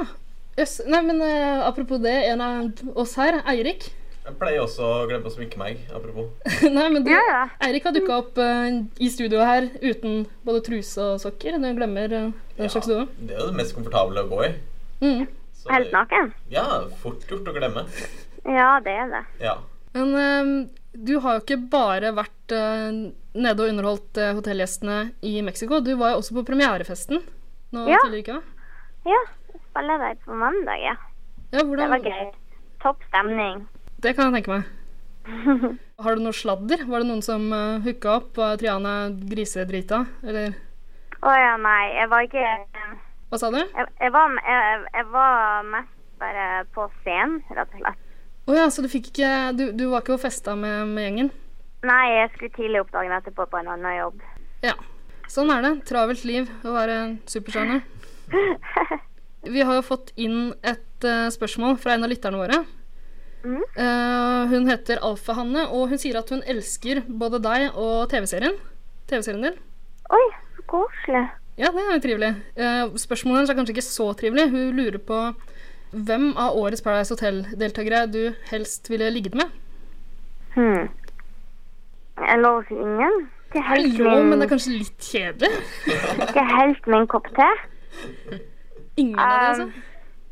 A: Jøss. Nei, men eh, apropos det, en av oss her, Eirik
B: Jeg pleier også å glemme å sminke meg, apropos.
A: Nei, men du,
I: Ja, ja.
A: Eirik har dukka opp eh, i studio her uten både truse og sokker. Du glemmer eh, den slags du òg.
B: Det er jo det mest komfortable å gå i.
A: Mm.
B: Så
I: Helt
B: det-
I: naken.
B: Ja, fort gjort å glemme.
I: Ja, det er det.
B: Ja.
A: Men eh, du har jo ikke bare vært eh, nede og underholdt eh, hotellgjestene i Mexico. Du var jo også på premierefesten nå
I: Ja.
A: tidligere i uka.
I: Ja, jeg spiller der på mandag, ja.
A: Ja,
I: Det
A: hvordan,
I: var gøy. Topp stemning.
A: Det kan jeg tenke meg. eh, Har du noe sladder? Var det noen som uh, hooka opp? Var Triana grisedrita? Eller
I: Å Å ja, nei. Jeg var ikke
A: Hva sa du?
I: Jeg, jeg, var, jeg, jeg var mest bare på scenen, rett og slett.
A: Å ja, så du fikk ikke Du, du var ikke og festa med, med gjengen?
I: Nei, jeg skulle tidlig opp dagen etterpå på en annen jobb.
A: Ja. Sånn er det. Travelt liv å være superstjerne. Vi har jo fått inn et eh, spørsmål fra en av lytterne våre. Eh, hun heter Alfa-Hanne, og hun sier at hun elsker både deg og TV-serien. TV-serien din.
I: Oi, så koselig.
A: Ja, det er jo trivelig. Eh, spørsmålet hennes er kanskje ikke så trivelig. Hun lurer på hvem av årets Paradise Hotel-deltakere du helst ville ligget med.
I: Hmm. Jeg lover ingen. Ikke helt
A: Hallo,
I: min-
A: men det er kanskje litt kjedelig?
I: Ikke helt min kopp te.
A: Ingen av dere,
I: Um.
A: altså?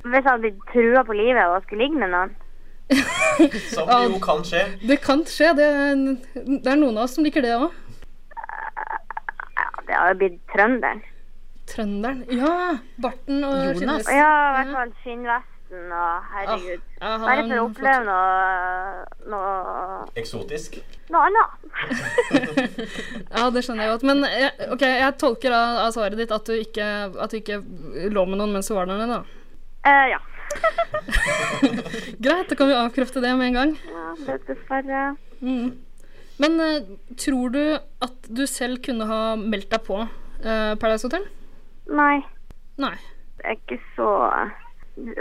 I: Hvis jeg hadde blitt trua på livet og skulle ligge med noen.
B: Som
A: Ja, jo
B: kan skje.
A: Det kan skje. Det er, det er noen av oss som liker det òg.
I: Ja, det hadde blitt trønderen.
A: Trønderen. Ja! Barten og
I: Jonas?
A: Jonas.
I: Ja, i hvert fall skinnvesten og herregud.
A: Ja, ah, han er
I: Bare for å
A: en flott-
I: oppleve noe noe,
B: Eksotisk.
I: noe annet.
A: Ja, det skjønner jeg godt. Men jeg, ok, jeg tolker av, av svaret ditt at du, ikke, at du ikke lå med noen mens du var der nede, da.
I: Eh, ja.
A: Greit, da kan vi avkrefte det med en gang.
I: ja. det- Dessverre.
A: Mm. Men eh, tror du at du selv kunne ha meldt deg på eh, Paradise Hotel?
I: Nei.
A: Nei.
I: Det er ikke så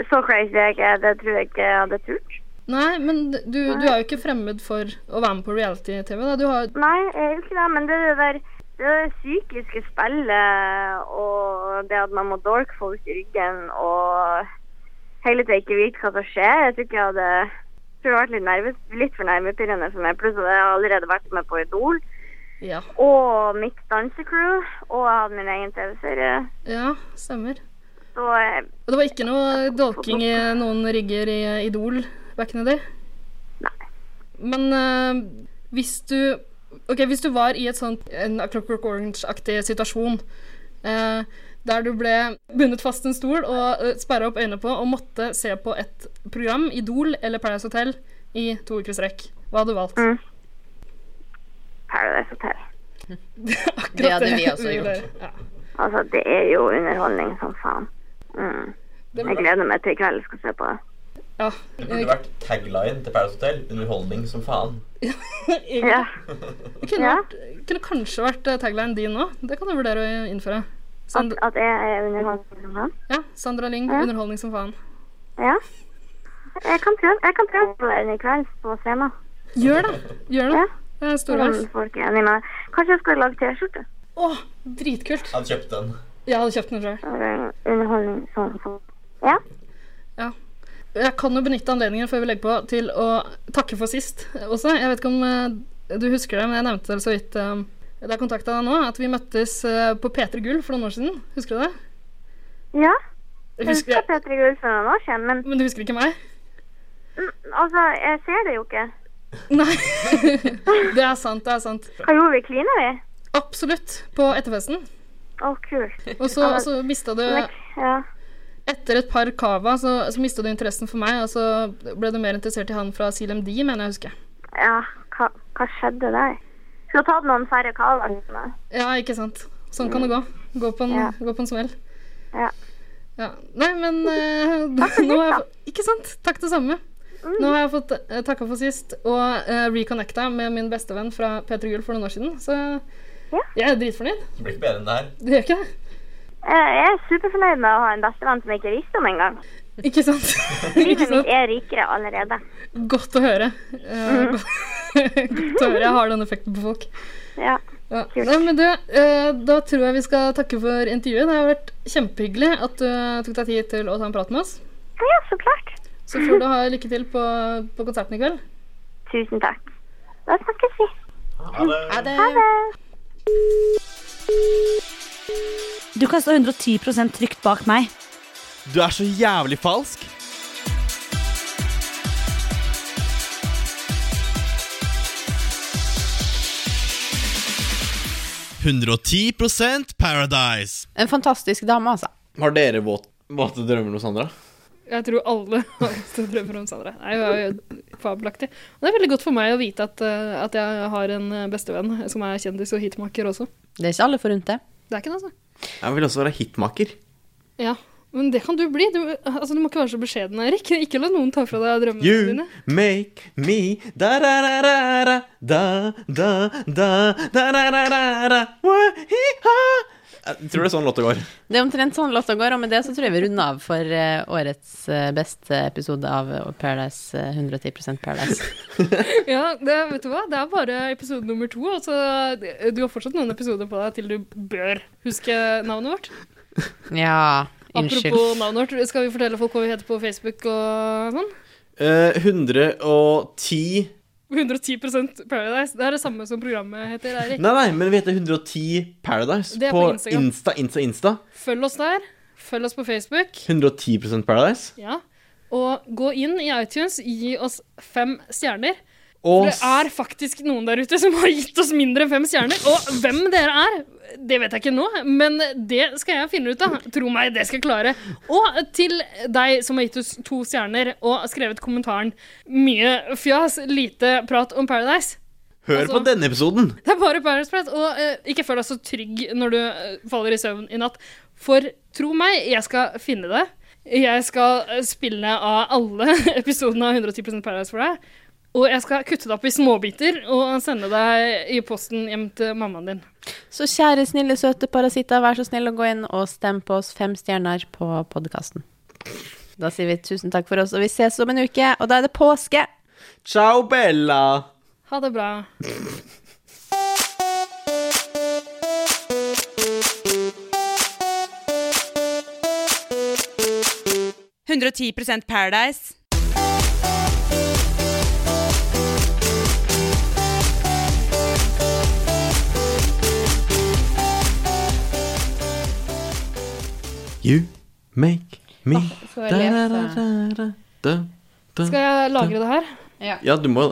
I: Så crazy jeg er. Det tror jeg ikke jeg hadde turt.
A: Nei, men du, du er jo ikke fremmed for å være med på reality-TV. da. Du har
I: Nei, jeg er jo ikke det, men det er det der det er det psykiske spillet og det at man må dolke folk i ryggen og hele tida ikke vite hva som skjer, jeg tror ikke jeg hadde jeg tror det har vært litt, nervøs, litt for nervepirrende for meg. Pluss at jeg har allerede vært med på Idol
A: Ja.
I: og mitt dansecrew, og jeg hadde min egen TV-serie.
A: Ja, stemmer.
I: Så eh,
A: Og det var ikke noe dolking i noen rygger i Idol back in the day? Nei. Men eh, hvis du Ok, hvis du var i et sånt en A Clockwork Orange-aktig situasjon eh, der du ble bundet fast en stol og uh, sperra opp øynene på og måtte se på et program, Idol eller Paradise Hotel, i to uker strekk, hva hadde du valgt?
I: Mm. Paradise Hotel.
A: Akkurat
I: hadde vi også
A: vil
I: gjort.
A: gjøre. Ja.
I: Altså, det er jo underholdning som faen. Mm.
A: Det
I: Jeg gleder meg til i kveld jeg skal se på det.
A: Ja.
B: Det burde vært tagline til Paradise Hotel. Underholdning som faen.
A: Egentlig. Det kunne, vært, kunne kanskje vært eh, tagline din nå. Det kan du vurdere å innføre. Sand-
I: At jeg er underholdning som faen.
A: ja, Sandra Lyng, underholdning som faen.
I: Ja. Jeg kan prøve, jeg kan prøve på den i kveld på scenen.
A: Gjør det! Gjør det. Eh, Det er
I: Om
A: storveis.
I: folk er enige med meg. Kanskje jeg skal lage T-skjorte?
A: Å, dritkult.
B: Hadde kjøpt den.
A: Jeg hadde kjøpt den sjøl.
I: Eh, Underholdning som faen.
A: Jeg kan jo benytte anledningen før vi legger på til å takke for sist også. Jeg vet ikke om eh, du husker det, men jeg nevnte det så vidt eh, da jeg kontakta deg nå, at vi møttes eh, på P3 Gull for noen år siden. Husker du det?
I: Ja.
A: Jeg
I: Jeg
A: husker-
I: husker Petter Gull for noen år siden, men
A: Men du husker ikke meg?
I: mm, altså, jeg ser det jo ikke.
A: Nei. det er sant, det er sant.
I: Hva gjorde vi? Klina vi?
A: Absolutt. På etterfesten.
I: Å, kult.
A: Og så,
I: Ja,
A: så mista du
I: men- Ja.
A: Etter et par cava så, så mista du interessen for meg, og så ble du mer interessert i han fra CLMD, mener jeg å huske.
I: ja. Hva, hva skjedde der? Skulle tatt noen færre kavaler.
A: Ja, ikke sant. Sånn kan det gå. Gå på en,
I: Ja.
A: gå på en smell.
I: Ja.
A: Ja. Nei, men eh, nå har jeg, fått- Ikke sant? Takk det samme.
I: Mm.
A: Nå har jeg fått uh, takka for sist og uh, reconnecta med min bestevenn fra P3 Gull for noen år siden, så jeg er dritfornøyd.
B: Det blir ikke bedre enn det her.
A: Det gjør ikke det.
I: Jeg jeg er superfornøyd med å ha en bestevenn som jeg ikke visste om engang.
A: Ikke sant?
I: Livet mitt er rikere allerede.
A: Godt å høre. Eh,
I: Mm.
A: Godt å høre. Jeg har den effekten på folk.
I: Ja.
A: Ja. Nei, men du, eh, da tror jeg vi skal takke for intervjuet. Det har vært kjempehyggelig at du eh, tok deg tid til å ta en prat med oss.
I: ja, så klart.
A: Så får du ha lykke til på, på konserten i kveld.
I: Tusen takk. Da snakkes vi.
B: Ha det.
I: Ha det.
J: Du kan stå 110 trygt bak meg.
B: Du er så jævlig falsk. Paradise.
D: En fantastisk dame, altså.
B: Har dere våt, våte drømmer hos Sandra?
A: Jeg tror alle som drømmer om Sandra. Nei, Hun er jo fabelaktig. Og det er veldig godt for meg å vite at, eh, at jeg har en bestevenn som er kjendis og hitmaker også.
D: Det er ikke alle forunt, det.
A: Det er ikke det, altså.
B: Jeg vil også være hitmaker.
A: Ja, men det kan du bli. Du, altså, du må ikke være så beskjeden, Erik. Ikke la noen ta fra deg drømmene
B: You
A: dine.
B: make me da da da da da da da da da da da da da Wah-hi-ha. Jeg tror det er sånn låta går.
D: Det er omtrent sånn låta går, og med det så tror jeg vi runder av for eh, årets eh, beste episode av eh, Paradise eh, 110 Paradise.
A: Ja, det, vet du hva? det er bare episode nummer to. Altså, du har fortsatt noen episoder på deg til du bør huske navnet vårt.
D: Ja,
A: Apropos
D: unnskyld.
A: navnet vårt, skal vi fortelle folk hva vi heter på Facebook og sånn?
B: Eh, 110
A: 110 Paradise. Det er det samme som programmet heter, Eirik.
B: Nei, nei, men vi heter 110 Paradise
A: Det er
B: på
A: på Instagram.
B: Insta, Insta, Insta.
A: Følg oss der. Følg oss på Facebook.
B: 110 Paradise.
A: Ja. Og gå inn i iTunes, gi oss fem stjerner.
B: Og
A: For det er faktisk noen der ute som har gitt oss mindre enn fem stjerner. Og hvem dere er, det vet jeg ikke nå, men det skal jeg finne ut av. Tro meg, det skal jeg klare. Og til deg som har gitt oss to stjerner og skrevet kommentaren 'mye fjas, lite prat om Paradise'.
B: hør på
A: altså-
B: denne episoden!
A: Det er bare Paradise Prat. Og eh, ikke føl deg så trygg når du eh, faller i søvn i natt. For tro meg, jeg skal finne det. Jeg skal eh, spille av alle episodene av 110 Paradise for deg. Og jeg skal kutte det opp i småbiter og sende deg i posten hjem til mammaen din.
D: Så kjære, snille, søte parasitter, vær så snill å gå inn og stem på oss fem stjerner på podkasten. Da sier vi tusen takk for oss, og vi ses om en uke, og da er det påske!
B: Ciao, Bella!
A: Ha det bra.
K: Paradise.
L: 110 Paradise.
B: You make me
A: Skal jeg, lese?
B: da, da, da.
A: Skal jeg lagre det her?
B: Ja, du må det.